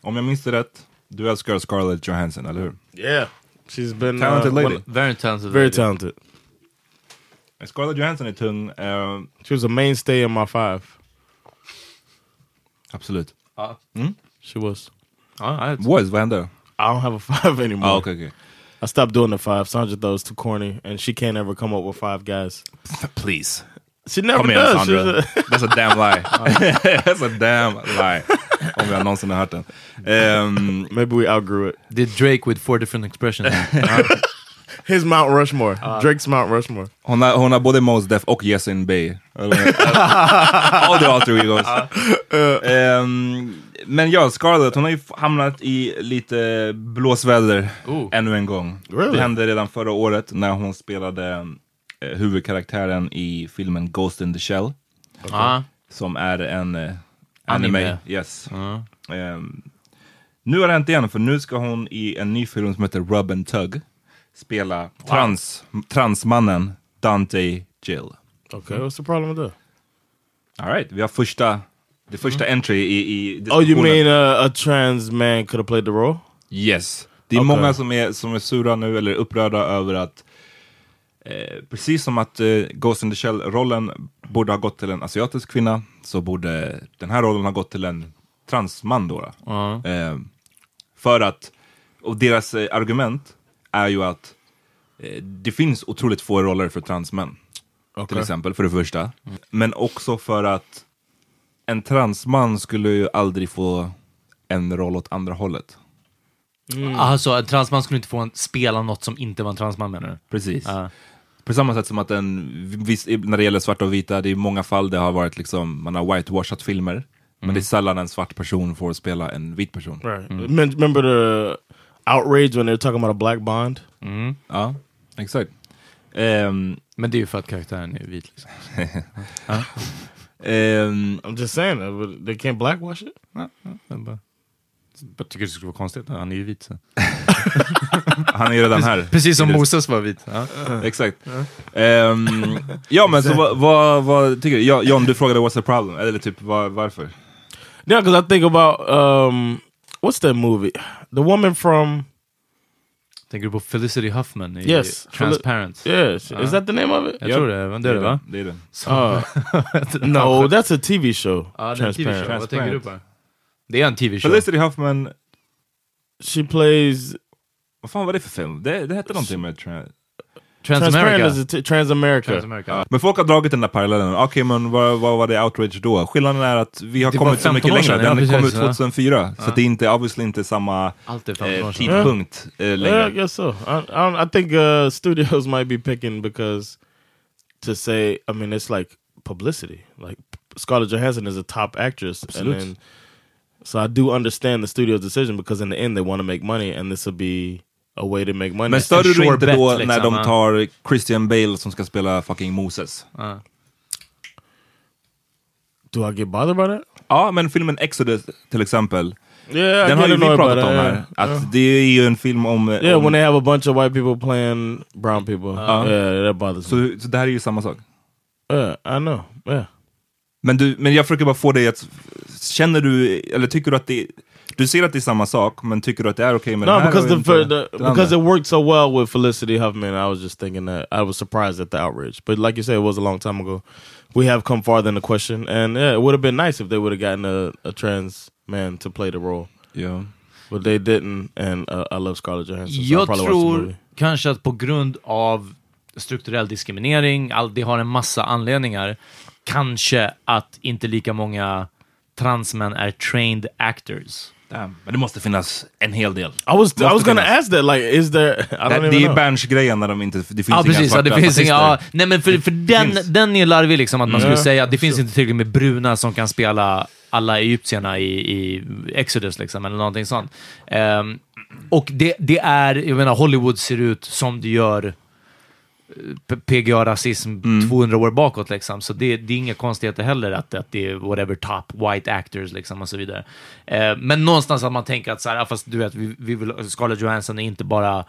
Speaker 7: om jag minns det rätt, du älskar Scarlett Johansson, eller hur?
Speaker 5: Yeah. She's been
Speaker 7: Talented
Speaker 5: uh,
Speaker 7: lady.
Speaker 5: one-
Speaker 3: Very talented.
Speaker 5: very talented.
Speaker 7: Scarlett Johansson är tung, eh,
Speaker 5: She was a mainstay in my five.
Speaker 7: absolut. Mm?
Speaker 5: She was.
Speaker 3: Ja, ja,
Speaker 7: Boys, vad hände?
Speaker 5: I don't have a [laughs] five anymore.
Speaker 7: Ah, okej, okej.
Speaker 5: I stopped doing the five. Sandra though is too corny, and she can't ever come up with five guys.
Speaker 7: Please.
Speaker 5: She never
Speaker 7: Kom igen
Speaker 5: does.
Speaker 7: Sandra.
Speaker 5: She's a-
Speaker 7: That's a damn lie. [laughs] That's a damn lie. Om jag någonsin har hört den. Ehm,
Speaker 5: Maybe we outgrew it.
Speaker 3: det är Drake with four different [laughs] expressions.
Speaker 5: His Mount Rushmore. Drake's Mount Rushmore.
Speaker 7: hon, har, hon har både Mos Def och Yesin Bey. Eller- All the alter egos. Ehm, men ja, Scarlett, hon har ju hamnat i lite blåsväder
Speaker 3: Oh.
Speaker 7: ännu en gång.
Speaker 5: Really?
Speaker 7: Det hände redan förra året när hon spelade eh, huvudkaraktären i filmen Ghost in the Shell.
Speaker 3: Ja.
Speaker 7: som är en eh,
Speaker 3: Anime.
Speaker 7: anime. Yes. Ehm, nu har det hänt igen, för nu ska hon i en ny film som heter Rub and Tug spela trans, transmannen Dante Jill.
Speaker 5: Okay, what's the problem with that?
Speaker 7: Alright, vi har första, det första entry i, i
Speaker 5: Oh, you
Speaker 7: diskussionen.
Speaker 5: mean uh, a trans man could have played the role?
Speaker 7: Yes. Det är
Speaker 5: Okej.
Speaker 7: många som är, som är sura nu eller upprörda över att eh, precis som att eh, Ghost in the Shell-rollen borde ha gått till en asiatisk kvinna så borde den här rollen ha gått till en transman då. då. Eh, för att, och deras eh, argument är ju att eh, det finns otroligt få roller för transmän. Till exempel, för det första. Men också för att en transman skulle ju aldrig få en roll åt andra hållet.
Speaker 3: Alltså, en transman skulle inte få en, spela något som inte var en transman menar du?
Speaker 7: Precis.
Speaker 3: Ja.
Speaker 7: På samma sätt som att en, viss, när det gäller svarta och vita, det är många fall det har varit liksom, man har whitewashat filmer,
Speaker 3: Mm.
Speaker 7: men det är sällan en svart person får spela en vit person.
Speaker 5: Right. Men- Remember the outrage when they were talking about a black Bond?
Speaker 7: Ja, exakt. Ehm,
Speaker 3: Men det är ju för att karaktären är vit. Liksom.
Speaker 7: ehm,
Speaker 5: I'm just saying that, but they can't blackwash it.
Speaker 3: Jag bara, bara tycker det skulle vara konstigt, han är ju vit. Så.
Speaker 7: han är ju redan här.
Speaker 3: Precis som
Speaker 7: I det-
Speaker 3: Moses var vit. Ja.
Speaker 7: [laughs] Exakt. Ehm, ja men så vad, vad, vad tycker du? Ja, John, du frågade what's the problem? Eller typ var, varför?
Speaker 3: Eh,
Speaker 5: Yeah, because I think about um, what's that movie? The woman from
Speaker 3: Tänker du på Felicity Huffman i
Speaker 5: Yes,
Speaker 3: Transparent?
Speaker 5: Yes, is that the name of it?
Speaker 3: Jag tror det, men det är det va?
Speaker 7: Det är det.
Speaker 5: Uh, no, [laughs] that's Oh, a TV show.
Speaker 3: Ja, det är en
Speaker 5: Transparent.
Speaker 3: TV-show. Vad tänker du på? Det är en TV-show.
Speaker 7: Felicity Huffman,
Speaker 5: She plays
Speaker 7: vad fan var det för film? Det, det hette någonting med... Tra-
Speaker 5: Transparent
Speaker 3: Transamerica.
Speaker 5: is a t- Transamerica.
Speaker 3: Transamerica.
Speaker 7: Men folk har dragit den där parallellen. Okej, men vad, vad var det outrage då? Skillnaden är att vi har
Speaker 3: Det var
Speaker 7: kommit så
Speaker 3: 15
Speaker 7: mycket
Speaker 3: år
Speaker 7: längre.
Speaker 3: sedan, ja,
Speaker 7: den kom
Speaker 3: precis,
Speaker 7: ut 2004, så det är inte, obviously inte samma
Speaker 3: Allt är 15
Speaker 7: eh,
Speaker 3: år sedan.
Speaker 7: tidpunkt eh,
Speaker 5: Yeah, I
Speaker 7: längre.
Speaker 5: guess so. I, I, don't, I think uh, studios [laughs] might be picking because to say, I mean, it's like publicity. Like Scarlett Johansson is a top actress,
Speaker 7: Absolute.
Speaker 5: and then, so I do understand the studio's decision because in the end they want to make money, and this will be a way to make money.
Speaker 7: Men störde du
Speaker 3: sure
Speaker 7: inte
Speaker 3: bet,
Speaker 7: då
Speaker 3: liksom,
Speaker 7: när de
Speaker 3: ja.
Speaker 7: tar Christian Bale som ska spela fucking Moses?
Speaker 5: Do I get bothered by that?
Speaker 7: Ja, men filmen Exodus till exempel.
Speaker 5: Yeah, I
Speaker 7: den har
Speaker 5: get
Speaker 7: ju vi
Speaker 5: annoyed by
Speaker 7: pratat
Speaker 5: that,
Speaker 7: om
Speaker 5: yeah.
Speaker 7: här. Att
Speaker 5: Yeah.
Speaker 7: det är ju en film om...
Speaker 5: Yeah,
Speaker 7: om
Speaker 5: when they have a bunch of white people playing brown people.
Speaker 7: Ja.
Speaker 5: Yeah, that bothers
Speaker 7: så, så det här är ju samma sak.
Speaker 5: me. Yeah, I know. Yeah.
Speaker 7: Men, du, men jag försöker bara få dig att... Känner du, eller tycker du att det... Du ser att det är samma sak, men tycker du att det är okej med den
Speaker 5: no,
Speaker 7: här?
Speaker 5: because
Speaker 7: och
Speaker 5: the,
Speaker 7: inte
Speaker 5: for the
Speaker 7: den andra?
Speaker 5: because it worked so well with Felicity Huffman, I was just thinking that I was surprised at the outrage. But like you said, it was a long time ago. We have come farther in the question, and yeah, it would have been nice if they would have gotten a, a trans man to play the role.
Speaker 7: Yeah,
Speaker 5: but they didn't, and uh, I love Scarlett Johansson. So I
Speaker 3: Jag
Speaker 5: probably watched the
Speaker 3: tror
Speaker 5: movie.
Speaker 3: kanske att på grund av strukturell diskriminering, all, det har en massa anledningar, kanske att inte lika många transmän är trained actors.
Speaker 7: Damn. Men det måste finnas en hel del.
Speaker 5: I was
Speaker 7: Måste
Speaker 5: I was gonna
Speaker 7: finnas.
Speaker 5: ask that. Like, is there? [laughs] I don't
Speaker 7: Det,
Speaker 5: even
Speaker 7: det
Speaker 5: know.
Speaker 7: är Berns-grejen när de inte... Det finns
Speaker 3: Ja,
Speaker 7: inga
Speaker 3: precis. Ja,
Speaker 7: svarta
Speaker 3: det finns inga, ja,
Speaker 7: statister.
Speaker 3: nej, men för, för den,
Speaker 7: finns.
Speaker 3: den är larvig, liksom, att man
Speaker 7: Mm.
Speaker 3: skulle säga att det finns inte tillräckligt med bruna som kan spela alla egyptierna i, i Exodus, liksom, eller någonting sånt. Ehm, och det, det är, jag menar, Hollywood ser ut som det gör eh, P- PGA-rasism
Speaker 5: Mm.
Speaker 3: 200 år bakåt, liksom. så det, det är inga konstigheter heller att, att det är whatever top white actors liksom, och så vidare. Eh, men någonstans att man tänker att så här, ah, fast du vet, vi, vi vill, Scarlett Johansson är inte bara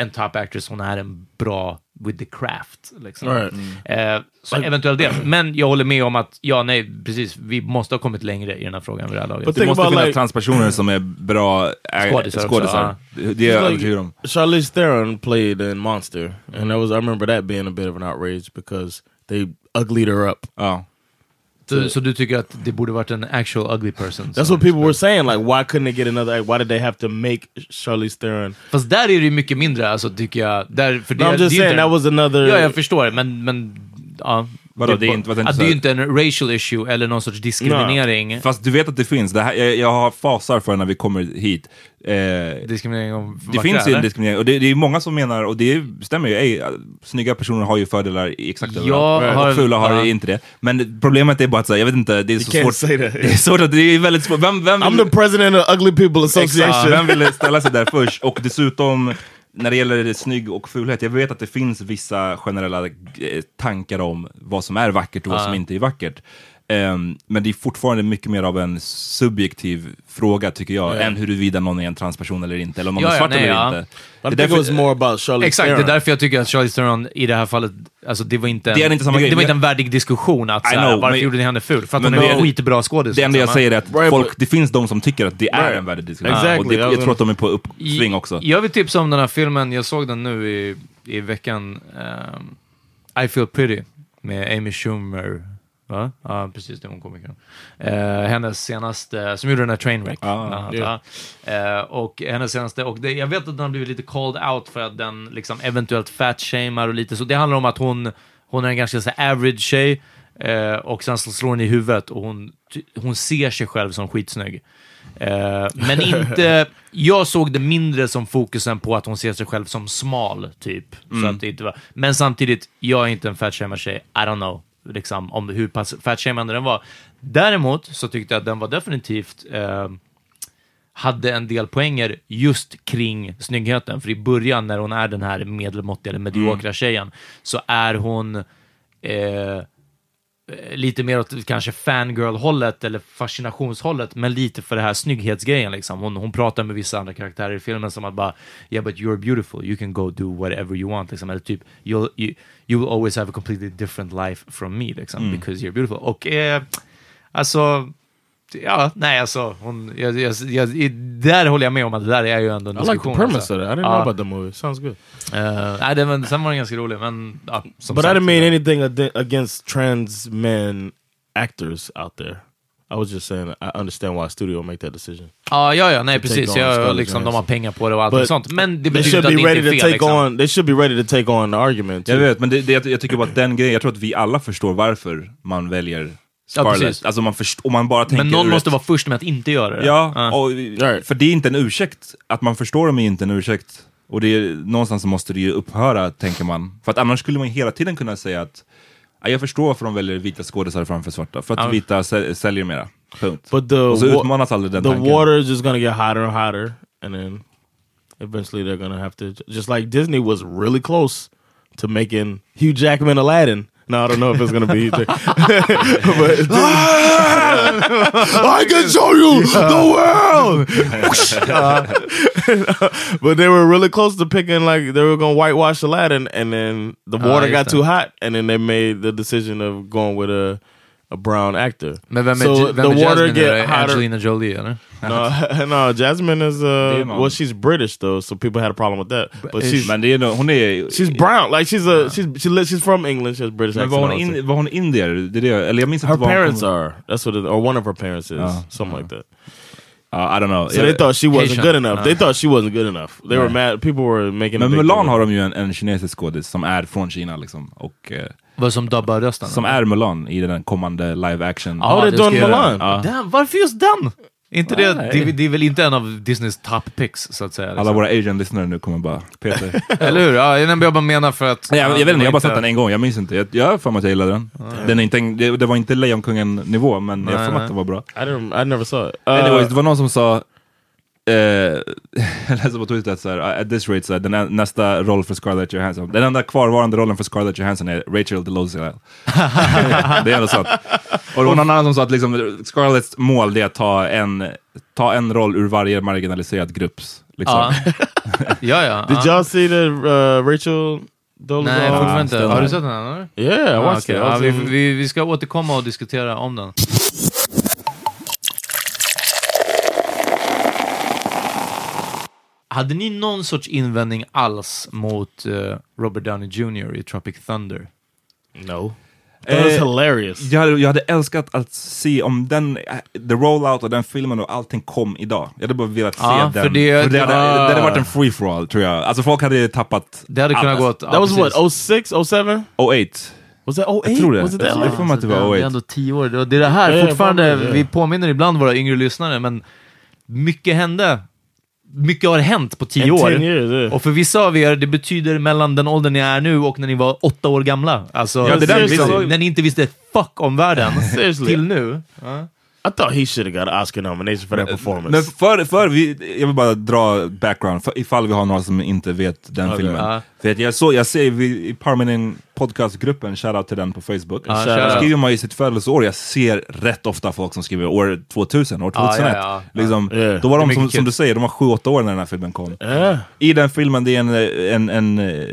Speaker 3: en top actress, hon är en bra with the craft. Liksom.
Speaker 5: Right.
Speaker 3: Eh, så eventuellt det. Men jag håller med om att, ja, nej, precis, vi måste ha kommit längre i den här frågan vid det här laget.
Speaker 5: But
Speaker 7: Det
Speaker 5: think
Speaker 7: måste
Speaker 5: about,
Speaker 7: finnas
Speaker 5: like-
Speaker 7: transpersoner som är bra äh,
Speaker 3: Skådisar också,
Speaker 7: skådisar.
Speaker 3: ja.
Speaker 7: Det det är jag
Speaker 5: Like,
Speaker 7: övertygad om.
Speaker 5: Charlize Theron played in Monster, and that was I remember that being a bit of an outrage because they uglied her up.
Speaker 7: Ja.
Speaker 3: så, så du tycker att det borde varit en actual ugly person?
Speaker 5: That's
Speaker 3: som-
Speaker 5: what people were saying. Like, why couldn't they get another? act? Why did they have to make Charlize Theron?
Speaker 3: Fast där är det ju mycket mindre, alltså, tycker jag. Där, för det,
Speaker 5: No, I'm
Speaker 3: det är
Speaker 5: just
Speaker 3: ju
Speaker 5: saying
Speaker 3: inte-
Speaker 5: that was another.
Speaker 3: Ja, jag förstår, men... men ja.
Speaker 7: Vadå, det är
Speaker 3: bara-
Speaker 7: inte- vad tänkte
Speaker 3: att det
Speaker 7: du
Speaker 3: är ju
Speaker 7: säga?
Speaker 3: inte en racial issue eller någon sorts diskriminering.
Speaker 7: Fast du vet att det finns. Det här, jag, jag har fasar för när vi kommer hit. Eh, det
Speaker 3: Diskriminering om vackra,
Speaker 7: finns ju
Speaker 3: eller?
Speaker 7: en diskriminering och det, det är många som menar, och det stämmer ju, ej, snygga personer har ju fördelar i exakt
Speaker 3: Jag
Speaker 7: överallt.
Speaker 3: har-
Speaker 7: och fula har
Speaker 3: ja.
Speaker 7: inte det. Men problemet är bara att så här, jag vet inte, det är så
Speaker 5: can't
Speaker 7: svårt.
Speaker 5: say that.
Speaker 7: [laughs] Det är svårt att, det är väldigt svårt. Vem, vem
Speaker 5: I'm the
Speaker 7: vill,
Speaker 5: president of Ugly People
Speaker 7: Exakt,
Speaker 5: Association.
Speaker 7: vem ville ställa sig där först? Och dessutom, när det gäller snygg och fulhet, jag vet att det finns vissa generella eh, tankar om vad som är vackert och vad
Speaker 3: Ja.
Speaker 7: som inte är vackert. Ehm, men det är fortfarande mycket mer av en subjektiv fråga, tycker jag, än huruvida någon är en transperson eller inte, eller om någon
Speaker 3: Ja,
Speaker 7: är
Speaker 3: ja,
Speaker 7: svart
Speaker 3: nej,
Speaker 7: eller
Speaker 3: ja.
Speaker 7: inte.
Speaker 5: I
Speaker 7: Det är
Speaker 5: think it was
Speaker 7: därför-
Speaker 5: more about Charlize
Speaker 3: Exakt, det
Speaker 5: Theron.
Speaker 3: är därför jag tycker att Charlize Theron i det här fallet, alltså det var inte en,
Speaker 7: Det är inte samma
Speaker 3: det,
Speaker 7: grej.
Speaker 3: det var inte en värdig diskussion att
Speaker 7: I
Speaker 3: såhär,
Speaker 7: know,
Speaker 3: varför
Speaker 7: men-
Speaker 3: gjorde ni henne ful? För att
Speaker 7: men
Speaker 3: hon är
Speaker 7: det-
Speaker 3: en skitbra skådis.
Speaker 7: Det enda jag
Speaker 3: liksom,
Speaker 7: säger är att
Speaker 5: Right,
Speaker 7: folk,
Speaker 5: but-
Speaker 7: det finns de som tycker att det är
Speaker 5: Right.
Speaker 7: en värdig diskussion.
Speaker 5: Exactly, alltså-
Speaker 7: Och det,
Speaker 5: I
Speaker 7: jag
Speaker 5: was
Speaker 7: tror att de är på
Speaker 3: I-
Speaker 7: uppsving också.
Speaker 3: Jag vill tipsa om den här filmen, jag såg den nu i, i veckan. ehm, I feel pretty med Amy Schumer. Va? Ja, precis. Det var hon komikern. Eh, hennes senaste, som gjorde den här Trainwreck.
Speaker 7: Ah,
Speaker 3: bland annat,
Speaker 5: yeah.
Speaker 3: ja. Eh, och hennes senaste, och det, jag vet att den har blivit lite called out för att den liksom eventuellt fatshamar och lite så. Det handlar om att hon, hon är en ganska så här average tjej eh, och sen så slår hon i huvudet och hon, ty- hon ser sig själv som skitsnygg. Eh, men inte... Jag såg det mindre som fokusen på att hon ser sig själv som smal, typ. Så att det inte var, men samtidigt, jag är inte en fatshamar-tjej. I don't know liksom, om hur pass fatshamande den var. Däremot så tyckte jag att den var definitivt... Eh, hade en del poänger just kring snyggheten. För i början, när hon är den här medelmåttiga eller mediokra tjejen, så är hon eh, lite mer åt kanske fangirl-hållet eller fascinationshållet, men lite för det här snygghetsgrejen. Liksom. Hon, hon pratar med vissa andra karaktärer i filmen som att bara “Yeah, but you're beautiful, you can go do whatever you want”. Liksom. Eller typ you'll, you, “You will always have a completely different life from me, liksom,
Speaker 5: Mm.
Speaker 3: because you're beautiful”. Och eh, alltså... Ja, nej alltså, hon, jag, jag, jag, i- där håller jag med om att det där är ju ändå en
Speaker 5: I like the
Speaker 3: diskussion.
Speaker 5: premise
Speaker 3: alltså.
Speaker 5: of that. I didn't know
Speaker 3: Ja.
Speaker 5: about the movie. Sounds good.
Speaker 3: Eh, nej, den, var- sen var den ganska rolig, men ja, som
Speaker 5: But I
Speaker 3: sagt,
Speaker 5: didn't mean
Speaker 3: ja.
Speaker 5: anything ad- against trans men actors out there. I was just saying I understand why a studio make that decision.
Speaker 3: Ja, ja, ja, nej
Speaker 5: on
Speaker 3: precis.
Speaker 5: Scarlett
Speaker 3: Jag, liksom, de har
Speaker 5: Johansson.
Speaker 3: pengar på det och allt
Speaker 5: But
Speaker 3: sånt. Men det
Speaker 5: They
Speaker 3: betyder
Speaker 5: should
Speaker 3: inte att det
Speaker 5: be
Speaker 3: inte
Speaker 5: ready to
Speaker 3: är fel.
Speaker 5: take
Speaker 3: Liksom.
Speaker 5: on. They should be ready to take on the argument.
Speaker 7: Jag
Speaker 5: too.
Speaker 3: Typ.
Speaker 7: vet, men det, det, jag, jag tycker bara att den grejen, jag tror att vi alla förstår varför man väljer Scarlett.
Speaker 3: precis.
Speaker 7: alltså man först, om man bara tänker
Speaker 3: Men
Speaker 7: ur
Speaker 3: någon
Speaker 7: ett-
Speaker 3: måste vara först med att inte göra det.
Speaker 7: Ja,
Speaker 3: Ja.
Speaker 7: och, för det är inte en ursäkt. Att man förstår dem är inte en ursäkt. Och det är, någonstans så måste det ju upphöra, tänker man. För att annars skulle man hela tiden kunna säga att "Ja, jag förstår varför de väljer vita skådisar framför svarta. För att
Speaker 3: Ja.
Speaker 7: vita säl- säljer mera. Punkt.
Speaker 5: But the
Speaker 7: och så
Speaker 5: wa-
Speaker 7: utmanas aldrig den
Speaker 5: the
Speaker 7: tanken. [laughs]
Speaker 5: water is just gonna get hotter and hotter, and then eventually they're gonna have to just like Disney was really close to making Hugh Jackman Aladdin. No, I don't know if it's gonna be. [laughs] but [laughs] I can show [laughs] you the world. but they were really close to picking like they were gonna whitewash Aladdin, and then the
Speaker 6: Ah,
Speaker 5: water
Speaker 6: just
Speaker 5: got
Speaker 6: det.
Speaker 5: too hot, and then they made the decision of going with a a brown actor.
Speaker 6: Men vem är,
Speaker 5: So
Speaker 6: Ju- vem
Speaker 5: the
Speaker 6: är
Speaker 5: water
Speaker 6: Jasmine?
Speaker 5: get
Speaker 6: Är det
Speaker 3: uh,
Speaker 5: hotter-
Speaker 6: Angelina Jolie eller?
Speaker 5: No, [laughs] no, Jasmine is uh,
Speaker 6: Demon.
Speaker 5: well, she's British though, so people had a problem with that. But
Speaker 7: is-
Speaker 5: she's,
Speaker 7: Men det är nog- hon är,
Speaker 5: she's brown, like she's a she's she li- she's from England, she has British
Speaker 7: Men
Speaker 5: accent.
Speaker 7: var hon,
Speaker 5: also.
Speaker 7: in, var hon indier? Det är det, jag- eller jag minns
Speaker 5: Her
Speaker 7: inte var hon
Speaker 5: parents
Speaker 7: kom-
Speaker 5: are. That's what it, or one of her parents is.
Speaker 7: Ja.
Speaker 5: something like that.
Speaker 7: Ja, I don't know.
Speaker 5: So they thought she wasn't good enough. They
Speaker 7: Ja.
Speaker 5: thought she wasn't good enough. They were
Speaker 7: Nej.
Speaker 5: mad. People were making. a
Speaker 7: Men
Speaker 5: big deal.
Speaker 7: Mulan har de ju en, en kinesisk skådis som är från Kina liksom. Och, eh,
Speaker 3: Vad som dubbar rösten?
Speaker 7: som är Mulan i den kommande live action.
Speaker 3: Ja, det Ah, ska jag göra.
Speaker 7: Ja.
Speaker 3: Den, varför just den? Inte det,
Speaker 7: Nej.
Speaker 3: det, det är väl inte en av Disneys top picks, så att säga. liksom.
Speaker 7: Alla våra Asian-lyssnare nu kommer bara,
Speaker 3: [laughs]
Speaker 7: Peter.
Speaker 3: Eller hur? Ja, jag bara menar för att...
Speaker 7: Nej, jag, jag vet inte, jag har bara
Speaker 3: inte-
Speaker 7: sett den en gång, jag minns inte. Jag jag har för mig att jag gillade den. den är inte, en- det, det var inte Lejonkungen-nivå, men jag har för mig
Speaker 5: nej.
Speaker 7: att den var bra.
Speaker 5: I don't. I never saw it. Uh,
Speaker 7: Anyways, det var någon som sa, eh, [laughs] jag läste på Twitter att så här, uh, at this rate, så här, den nä- nästa roll för Scarlett Johansson, den enda kvarvarande rollen för Scarlett Johansson är
Speaker 3: [laughs]
Speaker 7: Rachel DeLozio. det är ändå sant. Och det var någon annan som sa att liksom, Scarletts mål det är att ta en, ta en roll ur varje marginaliserad grupps. Liksom.
Speaker 3: Ja. ja, ja.
Speaker 5: did
Speaker 3: ja.
Speaker 5: y'all see the uh, Rachel? Dolezal?
Speaker 3: Nej, fortfarande inte. Har du sett den? Eller?
Speaker 5: Yeah, I
Speaker 3: Ja, okej.
Speaker 5: watched it. Oh,
Speaker 3: Ja,
Speaker 5: I was
Speaker 3: vi,
Speaker 5: in-
Speaker 3: vi, vi ska återkomma och diskutera om den. Hade ni någon sorts invändning alls mot eh, Robert Downey Jr i Tropic Thunder?
Speaker 5: No. That was
Speaker 7: Eh,
Speaker 5: hilarious.
Speaker 7: Jag hade, jag hade älskat att se om den, eh, the rollout av den filmen och allting kom idag. Jag hade bara velat se
Speaker 3: Ja,
Speaker 7: den.
Speaker 3: för det-
Speaker 7: för det, hade,
Speaker 3: ah.
Speaker 7: det hade varit en free for all tror jag. Alltså folk hade tappat...
Speaker 3: Det hade kunnat
Speaker 7: allt.
Speaker 3: gått... ja,
Speaker 5: That was
Speaker 3: precis.
Speaker 5: what 06, 07?
Speaker 7: 08.
Speaker 5: Was that 08?
Speaker 7: Jag tror det.
Speaker 5: Was it that?
Speaker 7: Jag får mig att det var
Speaker 3: Det är
Speaker 7: 08.
Speaker 3: ändå tio år. Det är det här,
Speaker 5: Ja, ja,
Speaker 3: fortfarande,
Speaker 5: fan, ja.
Speaker 3: vi påminner ibland våra yngre lyssnare, men mycket hände. Mycket har hänt på tio
Speaker 5: In
Speaker 3: år.
Speaker 5: 10 years, yeah.
Speaker 3: Och för vissa av er, det betyder mellan den åldern ni är nu och när ni var åtta år gamla. Alltså,
Speaker 7: Ja, det där
Speaker 3: liksom,
Speaker 7: visste-
Speaker 3: när ni inte visste ett fuck om världen. till nu.
Speaker 5: I thought he should have got an Oscar nomination for that performance.
Speaker 7: Men för, för vi, jag vill bara dra background, för, ifall vi har några som inte vet den
Speaker 5: Okej.
Speaker 7: filmen.
Speaker 3: Ja.
Speaker 7: För att jag, så, jag ser vi, i Parmenin podcastgruppen, shoutout till den på Facebook,
Speaker 3: Ja,
Speaker 7: Där
Speaker 3: shoutout.
Speaker 7: skriver man ju sitt födelseår, jag ser rätt ofta folk som skriver år 2000, år
Speaker 3: Ja, ja,
Speaker 7: 2001.
Speaker 3: ja.
Speaker 7: Liksom,
Speaker 5: Ja.
Speaker 7: Då var
Speaker 3: Det är
Speaker 7: de,
Speaker 3: mycket
Speaker 7: som, som
Speaker 3: kul.
Speaker 7: du säger, de var 7-8 år när den här filmen kom.
Speaker 5: yeah.
Speaker 7: I den filmen, det är en, en, en, eh,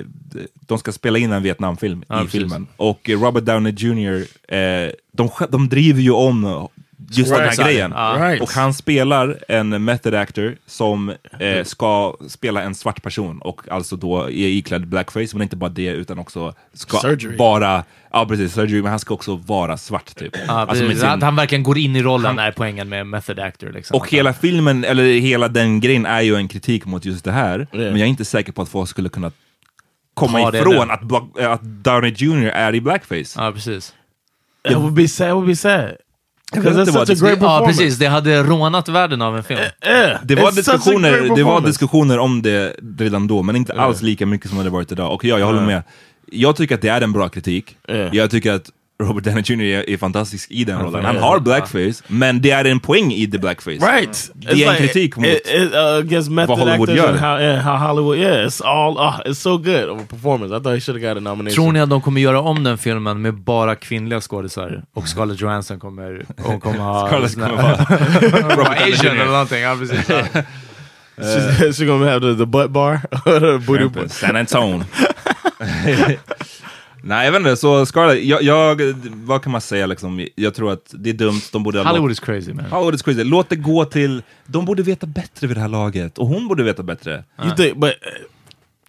Speaker 7: de ska spela in en Vietnamfilm i
Speaker 3: precis.
Speaker 7: filmen. Och eh, Robert Downey Jr, eh, de, sk- de driver ju om just den här
Speaker 5: Right.
Speaker 7: grejen.
Speaker 5: Right.
Speaker 7: Och han spelar en method actor som eh,
Speaker 3: Mm.
Speaker 7: ska spela en svart person och alltså då är iklädd blackface, men inte bara det utan också ska
Speaker 5: Surgery.
Speaker 7: vara, ja precis, surgery, men han ska också vara svart typ.
Speaker 3: Ja,
Speaker 7: Alltså med
Speaker 3: precis.
Speaker 7: sin-
Speaker 3: Att han verkligen går in i rollen är poängen med method actor. Liksom.
Speaker 7: och hela filmen, eller hela den grejen, är ju en kritik mot just det här. Men jag är inte säker på att folk skulle kunna komma
Speaker 3: Ta det
Speaker 7: ifrån
Speaker 3: nu.
Speaker 7: att, Black- att Downey Jr är i blackface.
Speaker 3: Ja, precis.
Speaker 5: It would be sad. It would be sad. Because
Speaker 7: vet
Speaker 5: that's
Speaker 7: inte vad
Speaker 5: such a
Speaker 7: det- Eh,
Speaker 5: great
Speaker 3: Ja,
Speaker 5: performance.
Speaker 3: precis. Det hade rånat världen av en film.
Speaker 7: Det var,
Speaker 5: It's such a great
Speaker 7: diskussioner, det var
Speaker 5: performance.
Speaker 7: diskussioner om det redan då, men inte alls lika mycket som det varit idag. Och ja, jag håller med. Jag tycker att det är en bra kritik.
Speaker 5: Ja.
Speaker 7: Jag tycker att Robert Downey Jr är, är fantastisk i den rollen. Han
Speaker 5: Ja.
Speaker 7: har blackface, men det är en poäng i the blackface.
Speaker 5: Right.
Speaker 7: Det är en kritik mot... [laughs]
Speaker 5: it, it, uh, against method
Speaker 7: Hollywood
Speaker 5: actors
Speaker 7: gör.
Speaker 5: and how, yeah, how Hollywood. Yeah, it's all. Uh, it's so good of a performance. I thought he should have got a nomination.
Speaker 3: Tror ni att de kommer göra om den filmen med bara kvinnliga skådisar? Och Scarlett Johansson kommer, hon kommer ha...
Speaker 7: Scarlett
Speaker 3: sån här-
Speaker 7: kommer [laughs] vara-
Speaker 3: Robert Asian eller någonting. Ja, [laughs] precis. Ja.
Speaker 5: [laughs] she's, she's gonna have the, the butt bar or the booty bar.
Speaker 7: San Antone. [laughs] Nej, jag vet inte. Så Scarlett, jag, jag, vad kan man säga liksom? Jag tror att det är dumt. De borde ha
Speaker 3: Hollywood
Speaker 7: låtit-
Speaker 3: is crazy man.
Speaker 7: Hollywood is crazy. Låt det gå till... De borde veta bättre vid det här laget. Och hon borde veta bättre.
Speaker 5: You think, but uh,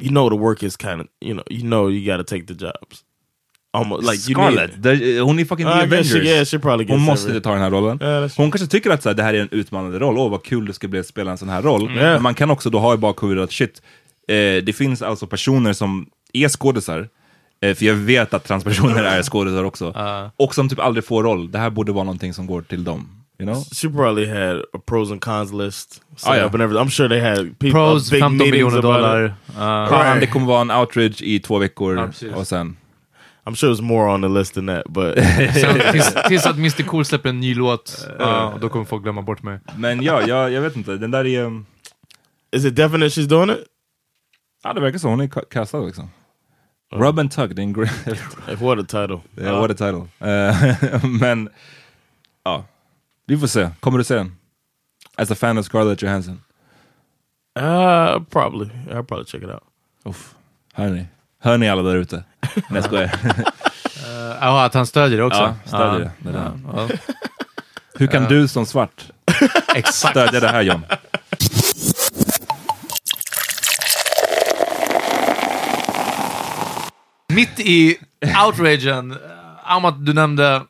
Speaker 5: you know the work is kind of you know you know you got to take the jobs. Almost like you need
Speaker 7: Scarlett,
Speaker 5: it.
Speaker 7: där- hon är fucking
Speaker 5: Ah,
Speaker 7: The
Speaker 5: I guess
Speaker 7: Avengers.
Speaker 5: she- yeah, she probably
Speaker 7: hon
Speaker 5: gets
Speaker 7: måste
Speaker 5: every-
Speaker 7: ta den här rollen.
Speaker 5: Ja, that's
Speaker 7: hon kanske tycker att så här, det här är en utmanande roll. Åh, vad kul det ska bli att spela en sån här roll.
Speaker 5: Mm.
Speaker 7: Men man kan också då ha i bakhuvudet att shit, eh, det finns alltså personer som är skådisar. eh, För jag vet att transpersoner är
Speaker 5: [laughs]
Speaker 7: skådisar också.
Speaker 5: Uh.
Speaker 7: Och som typ aldrig får roll. Det här borde vara någonting som går till dem. You know?
Speaker 5: She probably had a pros and cons list set
Speaker 7: Oh, yeah.
Speaker 5: up and everything. I'm sure they had people,
Speaker 3: Pros,
Speaker 5: big
Speaker 3: 15
Speaker 5: meetings
Speaker 3: miljoner
Speaker 5: about
Speaker 3: dollar.
Speaker 5: it.
Speaker 3: Uh,
Speaker 7: Fan, det kommer vara en outrage i två veckor
Speaker 3: precis.
Speaker 7: och sen...
Speaker 5: I'm sure there's more on the list than that,
Speaker 3: [laughs]
Speaker 5: but
Speaker 3: sen, tills, tills att Mr Cool släpper en ny låt, eh, ja, och då kommer folk glömma bort mig.
Speaker 7: Men ja, jag, jag vet inte. Den där är... um,
Speaker 5: is it definite she's doing it?
Speaker 7: Ja, det verkar så. Hon är ka- kastad liksom. Rub and tug, det är en [laughs] gre-
Speaker 5: What a title.
Speaker 7: Yeah, what a title. Eh, [laughs] men, ja. Vi får se. Kommer du se den? As a fan of Scarlett Johansson.
Speaker 5: Uh, probably. I'll probably check it out.
Speaker 7: Uff. Hör ni? Hör ni alla där [laughs] ute? Nej, jag skojar. [laughs]
Speaker 3: Ja, att han stödjer det också.
Speaker 7: Ja, stödjer
Speaker 3: Ja.
Speaker 7: det. det där.
Speaker 3: Ja.
Speaker 7: Hur kan du som svart
Speaker 3: Exakt.
Speaker 7: stödja det här John?
Speaker 3: Mitt i outragen, eh, Amat, du nämnde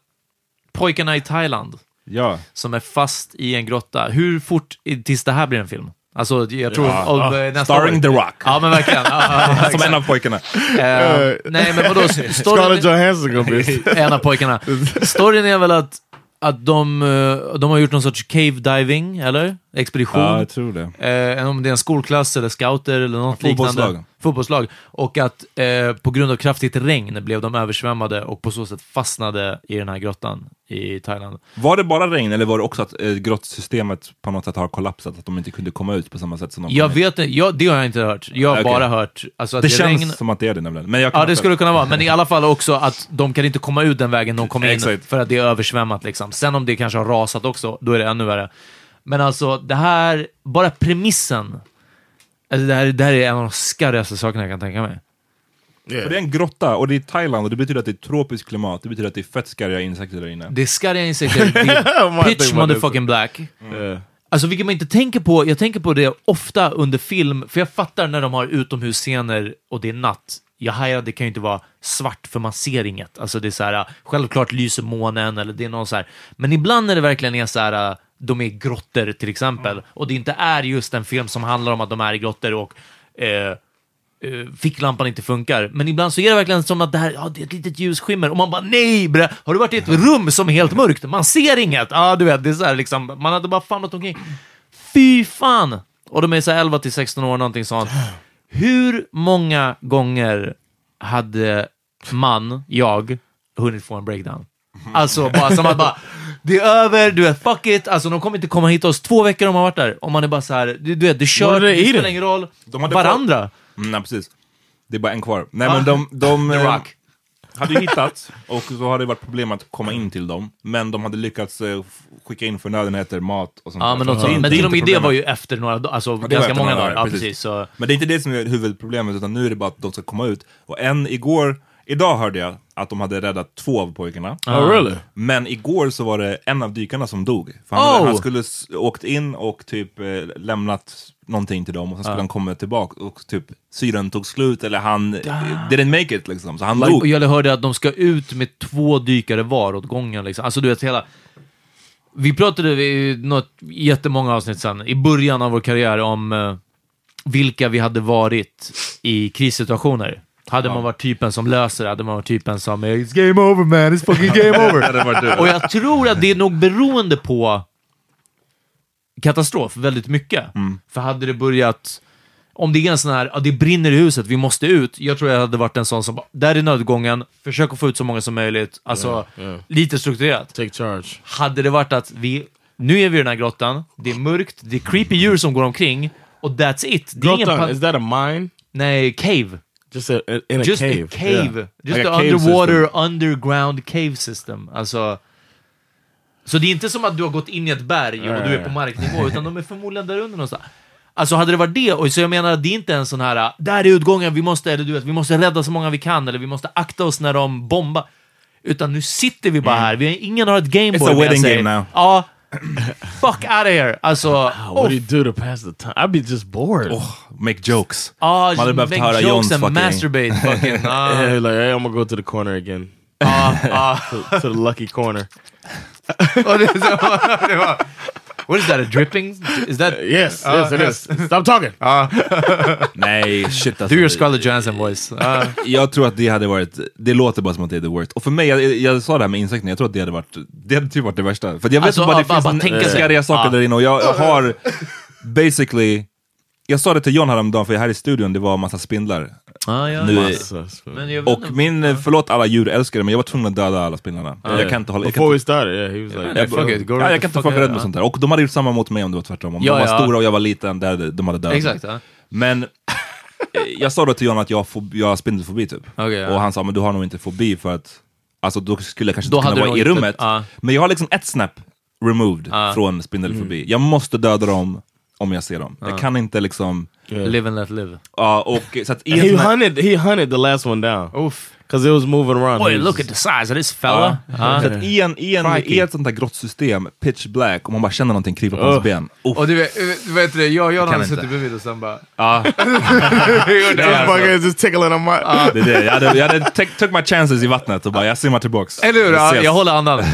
Speaker 3: pojkarna i Thailand
Speaker 7: Ja.
Speaker 3: som är fast i en grotta. Hur fort i- tills det här blir en film? Alltså, jag tror...
Speaker 7: Ja.
Speaker 3: om, eh, nästa
Speaker 7: Starring
Speaker 3: år.
Speaker 7: The Rock.
Speaker 3: Ja, men verkligen. Ja, ja, ja,
Speaker 7: Som
Speaker 3: exakt.
Speaker 7: en av pojkarna.
Speaker 3: [laughs] Eh, nej, men vadå?
Speaker 5: Scarlett
Speaker 3: Storyn,
Speaker 5: Johansson gonna
Speaker 3: [laughs]
Speaker 5: be...
Speaker 3: en av pojkarna. Storyn är väl att, att de, eh, de har gjort någon sorts cave diving, eller? Expedition.
Speaker 7: Ja, jag tror det.
Speaker 3: Eh, om det är en skolklass eller scouter eller något
Speaker 7: Fotbollslag.
Speaker 3: liknande. Fotbollslag. Och att eh, på grund av kraftigt regn blev de översvämmade och på så sätt fastnade i den här grottan i Thailand.
Speaker 7: Var det bara regn eller var det också att eh, grottsystemet på något sätt har kollapsat? Att de inte kunde komma ut på samma sätt som de
Speaker 3: Jag
Speaker 7: kom in?
Speaker 3: vet inte, jag, det har jag inte hört. Jag har
Speaker 7: Okej.
Speaker 3: bara hört alltså, att
Speaker 7: Det
Speaker 3: det,
Speaker 7: känns
Speaker 3: regn...
Speaker 7: som att det är det nämligen. Men jag kan
Speaker 3: Ja, det
Speaker 7: inte-
Speaker 3: skulle kunna vara. Men i alla fall också att de kan inte komma ut den vägen de kom in
Speaker 7: Exakt.
Speaker 3: för att det är översvämmat. Liksom. Sen om det kanske har rasat också, då är det ännu värre. Men alltså, det här, bara premissen. Alltså, det, här, det här är en av de skarrigaste sakerna jag kan tänka mig.
Speaker 7: För det är en grotta och det är Thailand och det betyder att det är tropiskt klimat. Det betyder att det är fett skarriga insekter där inne.
Speaker 3: Det är skarriga
Speaker 5: [laughs]
Speaker 3: insekter. Det är
Speaker 5: Man
Speaker 3: pitch
Speaker 5: tänker på det.
Speaker 3: motherfucking black.
Speaker 5: Yeah.
Speaker 3: Alltså vilket man inte tänker på. Jag tänker på det ofta under film, för jag fattar när de har utomhusscener och det är natt. Jag hajar, det kan ju inte vara svart för man ser inget. Alltså det är så här, självklart lyser månen eller det är någon så här. Men ibland när det verkligen är så här, de är i grottor till exempel. Och det inte är just en film som handlar om att de är i grottor och eh, eh, ficklampan inte funkar. Men ibland så är det verkligen som att det här, ja, det är ett litet ljusskimmer. Och man bara, nej bre, har du varit i ett rum som är helt mörkt? Man ser inget. Ja, du vet, det är så här liksom, man hade bara fan något omkring. Fy fan! Och de är så här 11 till 16 år, någonting sånt. Hur många gånger hade man, jag, hunnit få en breakdown? Alltså bara som att bara, det är över, du vet, fuck it. Alltså de kommer inte komma hit oss två veckor om man varit där. Om man är bara så här, du, du vet, det kör,
Speaker 5: Vad är det
Speaker 3: det
Speaker 5: i
Speaker 3: spelar
Speaker 5: det?
Speaker 3: ingen roll.
Speaker 7: De hade
Speaker 3: Varandra.
Speaker 7: Mm, nej, precis. Det är bara en kvar. Nej,
Speaker 3: Ah.
Speaker 7: men de,
Speaker 3: [laughs]
Speaker 7: de
Speaker 3: The
Speaker 7: eh,
Speaker 3: Rock.
Speaker 7: hade ju hittats och så hade det varit problem att komma in till dem. Men de hade lyckats eh, f- skicka in förnödenheter, mat och sånt
Speaker 3: Ja,
Speaker 7: där.
Speaker 3: men,
Speaker 7: Så
Speaker 3: något
Speaker 7: det är
Speaker 3: sånt. men
Speaker 7: inte
Speaker 3: till och med det
Speaker 7: problemet.
Speaker 3: var ju efter några dagar, alltså
Speaker 7: Ja, det var
Speaker 3: ganska
Speaker 7: efter
Speaker 3: många
Speaker 7: några
Speaker 3: dagar. Ja, precis. Så,
Speaker 7: Men det är inte det som är huvudproblemet, utan nu är det bara att de ska komma ut. Och en igår, idag hörde jag att de hade räddat två av pojkarna.
Speaker 3: Ah.
Speaker 5: Oh, really?
Speaker 7: Men igår så var det en av dykarna som dog. För han, hade-
Speaker 3: Oh!
Speaker 7: han skulle s- åkt in och typ eh, lämnat någonting till dem och sen
Speaker 3: Ah.
Speaker 7: skulle han komma tillbaka och typ syren tog slut eller han eh, didn't make it liksom. Så han
Speaker 3: like, oh, och
Speaker 7: dog.
Speaker 3: jag hörde att de ska ut med två dykare var åt gången. Liksom. Alltså du vet hela... Vi pratade i något jättemånga avsnitt sen, i början av vår karriär, om eh, vilka vi hade varit i krissituationer. Hade man varit typen som löser det? Hade man varit typen som eh, “It's game over man, it's fucking game
Speaker 7: [laughs]
Speaker 3: over”?
Speaker 7: Det hade varit du.
Speaker 3: Och jag tror att det är nog beroende på katastrof väldigt mycket.
Speaker 5: Mm.
Speaker 3: För hade det börjat... Om det är en sån här, ja, det brinner i huset, vi måste ut. Jag tror jag hade varit en sån som bara, där är nödutgången, försök att få ut så många som möjligt. Alltså,
Speaker 5: yeah.
Speaker 3: lite strukturerat.
Speaker 5: Take charge.
Speaker 3: Hade det varit att vi, nu är vi i den här grottan, det är mörkt, det är creepy djur som går omkring, och that's it. Det är ingen
Speaker 5: Grotta,
Speaker 3: pa-
Speaker 5: is that a mine?
Speaker 3: Nej, cave.
Speaker 5: Just a, in a
Speaker 3: Just
Speaker 5: cave.
Speaker 3: a cave.
Speaker 5: Yeah.
Speaker 3: Just
Speaker 5: Like
Speaker 3: a
Speaker 5: a cave
Speaker 3: underwater,
Speaker 5: system.
Speaker 3: underground cave system. Alltså, så det är inte som att du har gått in i ett berg och du är på marknivå, utan de är förmodligen där under någonstans. Alltså hade det varit det, och så jag menar det är inte en sån här “där är utgången, vi måste, eller du vet, vi måste rädda så många vi kan” eller “vi måste akta oss när de bombar”. Utan nu sitter vi bara här, vi har, ingen har ett gameboard
Speaker 7: Mm. It's a
Speaker 3: med
Speaker 7: wedding
Speaker 3: sig.
Speaker 7: game now. Ah,
Speaker 3: Ja. Fuck out of here! Alltså,
Speaker 5: Wow,
Speaker 3: oh,
Speaker 5: what do you do to pass the time? I'd be just bored.
Speaker 7: Oh. Make jokes.
Speaker 3: ah,
Speaker 7: Man hade behövt
Speaker 3: make
Speaker 7: höra
Speaker 3: jokes
Speaker 7: Johns
Speaker 3: and
Speaker 7: fucking... [laughs]
Speaker 3: masturbate fucking. Ah.
Speaker 5: Yeah, like, hey, I'm gonna go to the corner again. [laughs] to, to the lucky corner.
Speaker 3: Och det, så, [laughs] det var, what is that, a dripping? Is that...
Speaker 5: Uh, Yes,
Speaker 3: Ah,
Speaker 5: yes, it is. Stop talking.
Speaker 7: Nej, shit alltså.
Speaker 3: Do your Scarlett Johansson
Speaker 7: [laughs]
Speaker 3: voice. Ah.
Speaker 7: Jag tror att det hade varit, det låter bara som att det är the worst. Och för mig, jag, jag sa det här med insekterna, jag tror att det hade varit, det hade typ varit det värsta. För jag vet
Speaker 3: Alltså,
Speaker 7: bara att
Speaker 3: bara-
Speaker 7: det
Speaker 3: bara
Speaker 7: finns
Speaker 3: tänka
Speaker 7: en-
Speaker 3: sig.
Speaker 7: skarriga saker
Speaker 3: Ja.
Speaker 7: där inne och jag, jag har basically, jag sa det till John häromdagen, för här i studion det var en massa spindlar.
Speaker 3: Ah, ja.
Speaker 7: Nu,
Speaker 3: Men jag vet
Speaker 7: och
Speaker 3: inte.
Speaker 7: min, eh, förlåt alla djurälskare, men jag var tvungen att döda alla spindlarna. Jag kan inte hålla, jag kan
Speaker 5: Before we
Speaker 7: inte,
Speaker 5: started, yeah, he was like,
Speaker 7: jag,
Speaker 3: fuck it, go
Speaker 7: ja, jag
Speaker 3: right
Speaker 7: kan
Speaker 3: the
Speaker 7: inte
Speaker 3: fuck
Speaker 7: fucka rädd
Speaker 3: out,
Speaker 7: med
Speaker 3: ja.
Speaker 7: sånt där. Och de hade gjort samma mot mig om det var tvärtom. Om
Speaker 3: Ja,
Speaker 7: de var
Speaker 3: ja.
Speaker 7: stora och jag var liten, där de hade dödat mig.
Speaker 3: Exakt. Ja.
Speaker 7: Men eh, jag sa då till John att jag har, fob- jag har spindelfobi typ.
Speaker 3: Okej, ja.
Speaker 7: Och han sa, men du har nog inte fobi för att, alltså då skulle jag kanske
Speaker 3: Då
Speaker 7: inte
Speaker 3: hade
Speaker 7: kunna
Speaker 3: du
Speaker 7: vara i
Speaker 3: nog inte-
Speaker 7: rummet.
Speaker 3: ja.
Speaker 7: Men jag har liksom ett snap removed
Speaker 3: Ja. Mm.
Speaker 7: från spindelfobi. Jag måste döda dem om jag ser dem.
Speaker 3: Ja.
Speaker 7: Jag kan inte liksom...
Speaker 3: Live and let live.
Speaker 7: Ja, och så att i en
Speaker 5: he
Speaker 7: sån här-
Speaker 5: hunted. He hunted the last one down.
Speaker 3: Oof.
Speaker 5: Because it was moving around.
Speaker 3: Oj,
Speaker 5: He was-
Speaker 3: look at the size of this fella. Ah. Ja.
Speaker 7: Så att i, en, i, en,
Speaker 5: Crikey.
Speaker 7: I ett sånt där grått system, pitch black, och man bara känner någonting krypa på ens ben. Uff.
Speaker 6: Och du vet, du vet det, jag och John
Speaker 7: kan
Speaker 6: hade
Speaker 7: inte.
Speaker 6: suttit bredvid och sen bara...
Speaker 3: [laughs]
Speaker 7: Ja,
Speaker 6: Gjorde
Speaker 5: This
Speaker 3: alltså.
Speaker 6: det.
Speaker 5: fucker is just tickling on my.
Speaker 7: det är det. Jag hade, jag hade take- took my chances i vattnet och bara, jag simmar tillbaks.
Speaker 3: Eller hur?
Speaker 7: Vi
Speaker 3: Ja,
Speaker 7: ses.
Speaker 3: jag håller
Speaker 7: [laughs]
Speaker 3: andan. Eh,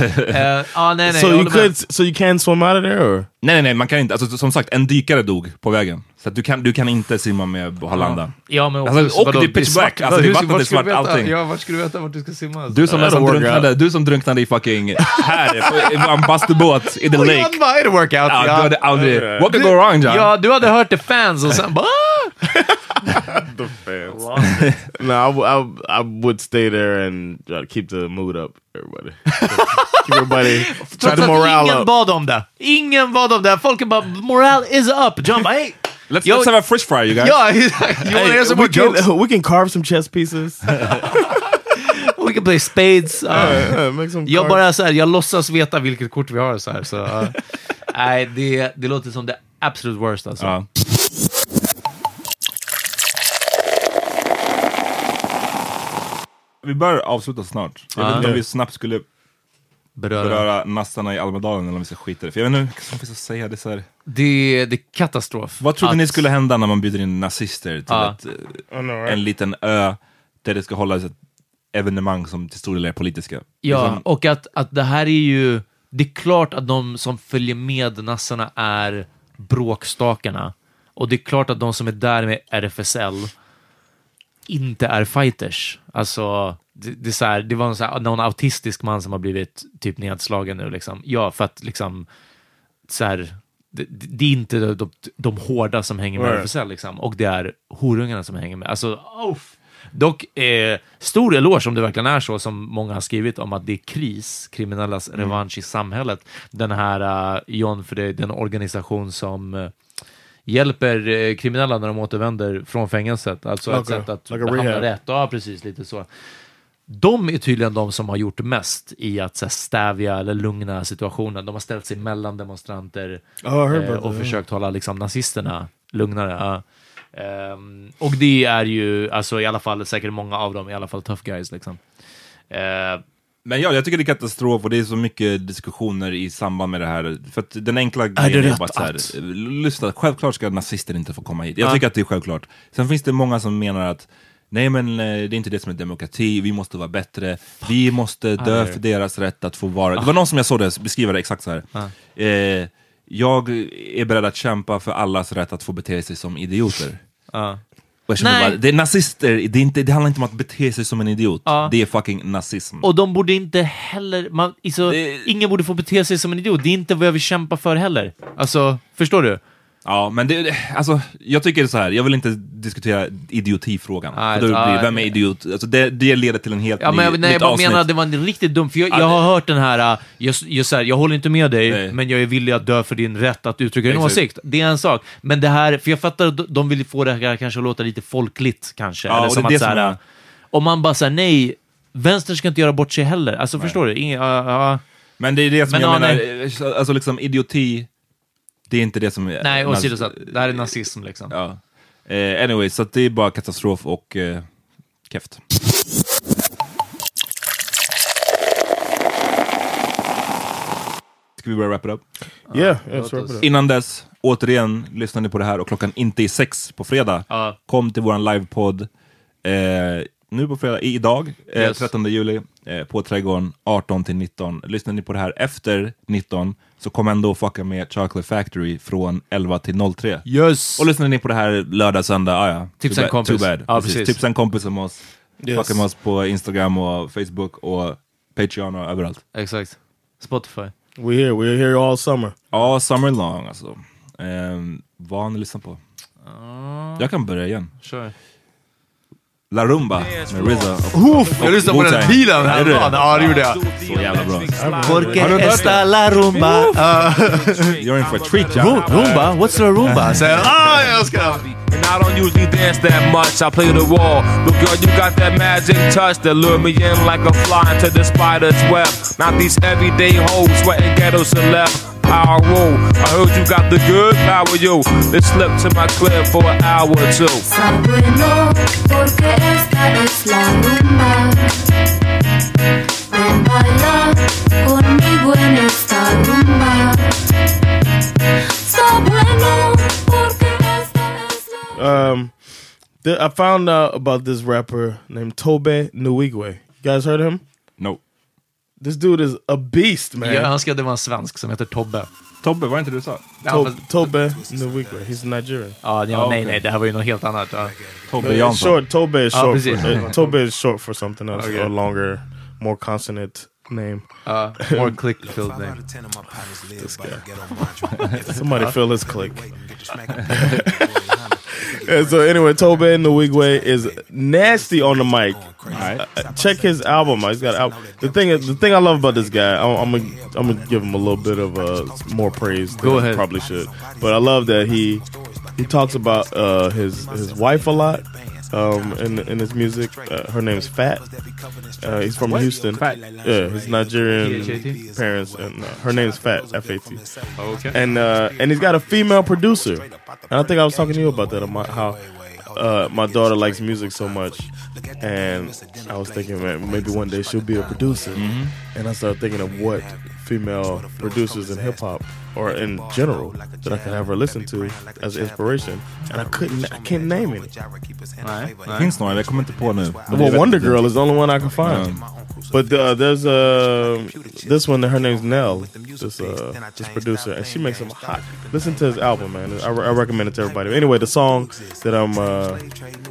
Speaker 3: ah, nej, nej,
Speaker 5: so
Speaker 3: jag
Speaker 5: you
Speaker 3: håller med.
Speaker 5: could. So you can swim out of there, or
Speaker 7: Nej, nej, nej, man kan inte. Alltså, som sagt, en dykare dog på vägen. Så att du, kan, du kan inte simma med och ha landat.
Speaker 3: Ja, men
Speaker 7: Alltså, och det är pitch black. Alltså, det är vattnet är svart, allting.
Speaker 6: Ja, vart ska du veta vart du ska simma? alltså?
Speaker 7: Du som,
Speaker 5: That'll
Speaker 7: nästan
Speaker 5: work
Speaker 7: drunknade, du som drunknade i fucking här, på- i en bastubåt i the
Speaker 6: Och
Speaker 7: lake.
Speaker 6: John bara, är det workout?
Speaker 7: Ja, du
Speaker 6: Ja.
Speaker 7: hade aldrig... What could go wrong, John?
Speaker 3: Ja, du hade hört the fans och sen bara... ah!
Speaker 5: [laughs] no, I, w- I w- I would stay there and try to keep the mood up, [laughs] everybody. keep everybody. try
Speaker 3: Trots
Speaker 5: the
Speaker 3: att
Speaker 5: morale
Speaker 3: ingen
Speaker 5: up.
Speaker 3: bad om det. Ingen bad om det. Folk bara, morale is up. John bara, hey!
Speaker 7: Let's,
Speaker 3: Yo-
Speaker 7: let's have a fish fry, you guys.
Speaker 3: Ja, [laughs] exakt. You wanna hear some
Speaker 5: we,
Speaker 3: more
Speaker 5: can,
Speaker 3: jokes?
Speaker 5: [laughs] we can carve some chess pieces. [laughs]
Speaker 3: We can play spades. Ja.
Speaker 5: Yeah, make some
Speaker 3: Jag
Speaker 5: cards.
Speaker 3: bara så här, jag låtsas veta vilket kort vi har så här. Så, ja. nej, det, det låter som det absolut worst alltså.
Speaker 7: Ja. Vi bör avsluta snart. Jag vet inte om vi snabbt skulle
Speaker 3: Beröra.
Speaker 7: beröra nassarna i Almedalen eller om vi ska skita i det. För jag vet inte vad vi ska säga. Det är så här.
Speaker 3: Det, det är katastrof.
Speaker 7: Vad trodde
Speaker 3: Att-
Speaker 7: ni skulle hända när man bjuder in nazister till
Speaker 3: Ja.
Speaker 7: ett, eh, en liten ö där det ska hållas ett evenemang som till stor del är politiska?
Speaker 3: Ja,
Speaker 7: Liksom,
Speaker 3: och att, att det här är ju... Det är klart att de som följer med nassarna är bråkstakarna. Och det är klart att de som är där med RFSL inte är fighters. Alltså, det, det, är så här, det var en så här, någon autistisk man som har blivit typ nedslagen nu. Liksom. Ja, för att liksom... Så här, det, det är inte de, de, de hårda som hänger med
Speaker 5: Right.
Speaker 3: RFSL, liksom. och det är horungarna som hänger med. Alltså, uff. Dock, eh, stor eloge om det verkligen är så som många har skrivit om att det är kris, kriminellas
Speaker 5: Mm.
Speaker 3: revansch i samhället. Den här, eh, John, för det är den organisation som eh, hjälper eh, kriminella när de återvänder från fängelset. Alltså ett
Speaker 5: Okay.
Speaker 3: sätt att
Speaker 5: Like a
Speaker 3: behandla
Speaker 5: rehab.
Speaker 3: rätt. Ja, precis, lite så. De är tydligen de som har gjort mest i att så här, stävja eller lugna situationen. De har ställt sig mellan demonstranter
Speaker 5: Oh, I heard
Speaker 3: eh,
Speaker 5: about
Speaker 3: och
Speaker 5: that,
Speaker 3: försökt hålla liksom, nazisterna lugnare. ja. Ehm, och det är ju, alltså i alla fall säkert många av dem, i alla fall tough guys liksom. Eh,
Speaker 7: Men ja, jag tycker det är katastrof och det är så mycket diskussioner i samband med det här. För att den enkla grejen
Speaker 3: rätt
Speaker 7: bara så här,
Speaker 3: att?
Speaker 7: eh, lyssna, självklart ska nazister inte få komma hit. Jag
Speaker 3: Ja.
Speaker 7: tycker att det är självklart. Sen finns det många som menar att nej men eh, det är inte det som är demokrati, vi måste vara bättre, vi måste dö för deras rätt att få vara...
Speaker 3: Ah.
Speaker 7: Det var någon som jag såg det beskriva det exakt så här. Eh, jag är beredd att kämpa för allas rätt att få bete sig som idioter. Och jag känner
Speaker 3: Ah. Nej.
Speaker 7: bara, det är nazister, det, är inte, det handlar inte om att bete sig som en idiot.
Speaker 3: Ja.
Speaker 7: Det är fucking nazism.
Speaker 3: Och de borde inte heller... Man, alltså,
Speaker 7: Det-
Speaker 3: Ingen borde få bete sig som en idiot. Det är inte vad jag vill kämpa för heller. Alltså, förstår du?
Speaker 7: Ja, men det, det- alltså, jag tycker så här, jag vill inte diskutera idiotifrågan.
Speaker 3: Nej,
Speaker 7: För då
Speaker 3: nej.
Speaker 7: blir, vem är idiot? Alltså, det, det leder till en helt
Speaker 3: Ja,
Speaker 7: ny,
Speaker 3: men, jag- nej,
Speaker 7: nytt
Speaker 3: jag bara
Speaker 7: avsnitt.
Speaker 3: menar att det var en riktigt dum... För jag, jag
Speaker 7: det-
Speaker 3: har hört den här, äh, jag, jag, så här, jag håller inte med dig,
Speaker 7: Nej.
Speaker 3: men jag är villig att dö för din rätt att uttrycka din
Speaker 7: Exakt.
Speaker 3: åsikt. Det är en sak. Men det här, för jag fattar att de vill få det här kanske att låta lite folkligt kanske.
Speaker 7: Ja,
Speaker 3: Eller
Speaker 7: och
Speaker 3: som
Speaker 7: det är
Speaker 3: att,
Speaker 7: det
Speaker 3: så här,
Speaker 7: som är-
Speaker 3: äh, Om man bara säger nej, vänster ska inte göra bort sig heller. Alltså förstår du? Ingen, ja, ja.
Speaker 7: Men det är det som
Speaker 3: Men
Speaker 7: jag
Speaker 3: ja,
Speaker 7: menar, eh, alltså liksom idioti, det är inte det som... är-
Speaker 3: nej,
Speaker 7: naz-
Speaker 3: åsidosatt. Det här är nazism liksom.
Speaker 7: Ja. Eh, anyway, så att det är bara katastrof och eh, keft. Ska vi börja wrap it up?
Speaker 5: Yeah, yeah, let's wrap it up.
Speaker 7: Alltså, Innan dess, återigen, lyssnar ni på det här och klockan inte är sex på fredag.
Speaker 3: Ja.
Speaker 7: Kom till våran livepodd eh, nu på fredag, i- idag, eh,
Speaker 3: Yes.
Speaker 7: 13 juli, eh, på Trädgården 18 till 19. Lyssnar ni på det här efter 19 så kom ändå och fucka med Chocolate Factory från 11 till 03.
Speaker 3: Yes!
Speaker 7: Och lyssnar ni på det här lördag, söndag, ah, ja.
Speaker 3: Tipsa
Speaker 7: Too
Speaker 3: en
Speaker 7: bad-
Speaker 3: kompis.
Speaker 7: Too bad.
Speaker 3: Ja,
Speaker 7: precis.
Speaker 3: precis.
Speaker 7: Tipsa en kompis om oss.
Speaker 5: Yes.
Speaker 7: Fucka med oss på Instagram och Facebook och Patreon och överallt.
Speaker 3: Exakt. Spotify.
Speaker 5: We're here. We're here all summer.
Speaker 7: Ja, Summer Long alltså. Ehm, Um, vad har ni lyssnat på? Jag kan börja igen.
Speaker 3: Kör.
Speaker 7: La Rumba med RZA.
Speaker 6: Oof, jag lyssnade på den
Speaker 7: Wu-Tang.
Speaker 6: bilen häromdagen.
Speaker 7: det?
Speaker 6: Ja, det gjorde jag.
Speaker 7: Så jävla bra.
Speaker 6: Porque
Speaker 7: Har du hört
Speaker 6: esta
Speaker 7: den?
Speaker 6: la rumba.
Speaker 7: You're in for a treat, ja.
Speaker 6: Ru- rumba? What's the
Speaker 7: [laughs]
Speaker 6: rumba? Säger jag. Ah, jag älskar den.
Speaker 8: And I don't usually dance that much. I play the wall. But girl, you got that magic touch that lure me in like a fly into the spider's web. Not these everyday hoes sweating ghetto celeb. Power roll. I heard you got the good power, yo. It slipped to my clip for an hour or two.
Speaker 4: Bueno, porque esta es la rumba. Ven baila conmigo en esta rumba. Está bueno, porque esta es
Speaker 5: Um, th- I found out about this rapper named Tobe Nuigwe. You guys heard of him?
Speaker 7: No.
Speaker 5: This dude is a beast, man.
Speaker 3: Jag önskar att det var en svensk som heter Tobbe.
Speaker 7: Tobbe, var det inte du sa?
Speaker 5: To- Tobe Nuigwe. He's Nigerian.
Speaker 3: Ja, ja,
Speaker 5: Ah,
Speaker 3: nej,
Speaker 5: okej.
Speaker 3: nej, det här var ju något helt annat. Ja.
Speaker 5: Uh, it's short. Tobe is
Speaker 3: Ja,
Speaker 5: short.
Speaker 3: precis.
Speaker 5: for, uh, Tobe is short for something else,
Speaker 3: Okay.
Speaker 5: a longer, more consonant name.
Speaker 3: Uh, more click-filled name.
Speaker 5: This guy.
Speaker 3: Uh.
Speaker 5: [laughs] Somebody fill his click. [laughs] And so anyway, Tobe and the Wigway is nasty on the mic. Uh, check his album. out. He's got an album. The thing is, the thing I love about this guy, I'm, I'm gonna I'm gonna give him a little bit of uh, more praise.
Speaker 3: Go
Speaker 5: than
Speaker 3: ahead.
Speaker 5: He probably should, but I love that he he talks about uh, his his wife a lot. Um, in in his music, uh, her name's Fat. Uh, he's from Houston. Fat. Yeah, his Nigerian
Speaker 3: P-H-A-T?
Speaker 5: parents, and uh, her name's Fat. F A T.
Speaker 3: Okay.
Speaker 5: And uh, and he's got a female producer. And I think I was talking to you about that. About how uh, my daughter likes music so much, and I was thinking, man, maybe one day she'll be a producer. And I started thinking of what female producers in hip hop or in general that I could have her listen to as inspiration. And I couldn't, I can't name any.
Speaker 7: Det finns några, jag kommer inte på nu.
Speaker 5: Well, Wonder Girl is the only one I can find. But uh, there's uh, this one. Her name's Nell. This uh, this producer, and she makes them hot. Listen to his album, man. I, I recommend it to everybody. But anyway, the song that I'm uh,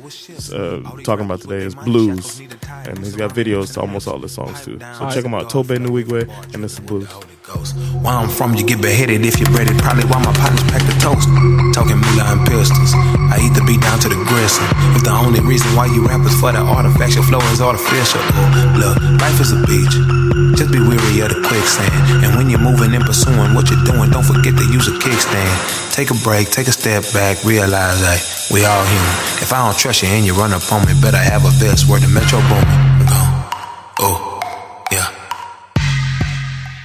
Speaker 5: s- uh, talking about today is Blues, and he's got videos to almost all the songs too. So check him out, Tobe Nuigwe, and it's Blues.
Speaker 9: Where I'm from, you get beheaded if you're breaded. Probably why my partners pack the toast. Talking moolah and pistols. I eat the beat down to the gristle. If the only reason why you rap is for the artifacts, your flow is artificial. Look, life is a beach. Just be weary of the quicksand. And when you're moving and pursuing what you're doing, don't forget to use a kickstand. Take a break, take a step back, realize that we all human. If I don't trust you and you run up on me, better have a vest where the metro booming. Oh,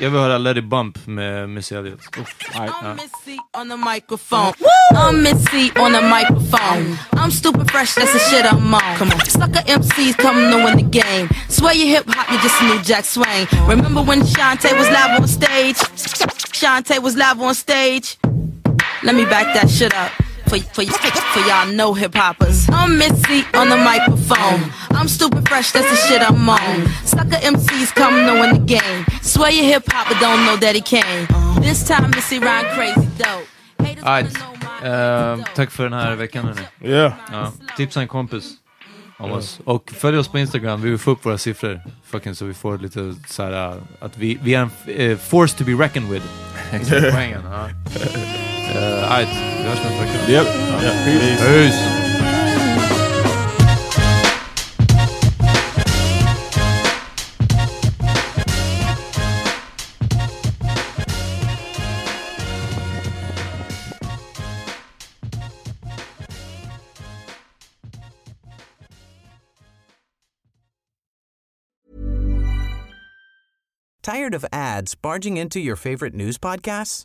Speaker 3: Jag vill höra Let it bump med Missy Elliott. Ja.
Speaker 10: Missy on the microphone. I'm Missy on the microphone. I'm stupid fresh, that's the shit I'm on. Come on. Sucker MCs coming to win the game. Swear you hip hop, you just a new Jack Swing. Remember when Shantae was live on stage? Shantae was live on stage. Let me back that shit up. For, for, for y'all know hip hoppers. I'm Missy on the microphone. I'm stupid fresh, that's the shit I'm on. Sucker MCs coming to win the game. Swear you hip hop, but don't know that he came. This time Missy rhyme crazy dope.
Speaker 3: Alright. Ehm, tack för den här veckan hörni.
Speaker 5: Yeah.
Speaker 3: Ja. Tipsa en kompis om oss. Och följ oss på Instagram, vi vill få upp våra siffror. Fucking så vi får lite så här äh, att vi, vi är en eh, force to be reckoned [laughs] with. Exakt poängen. [laughs] Ja. Eh, Alright, vi hörs nästa vecka.
Speaker 5: Yep.
Speaker 3: Ja.
Speaker 5: Yep. Peace.
Speaker 3: Peace.
Speaker 1: Tired of ads barging into your favorite news podcasts?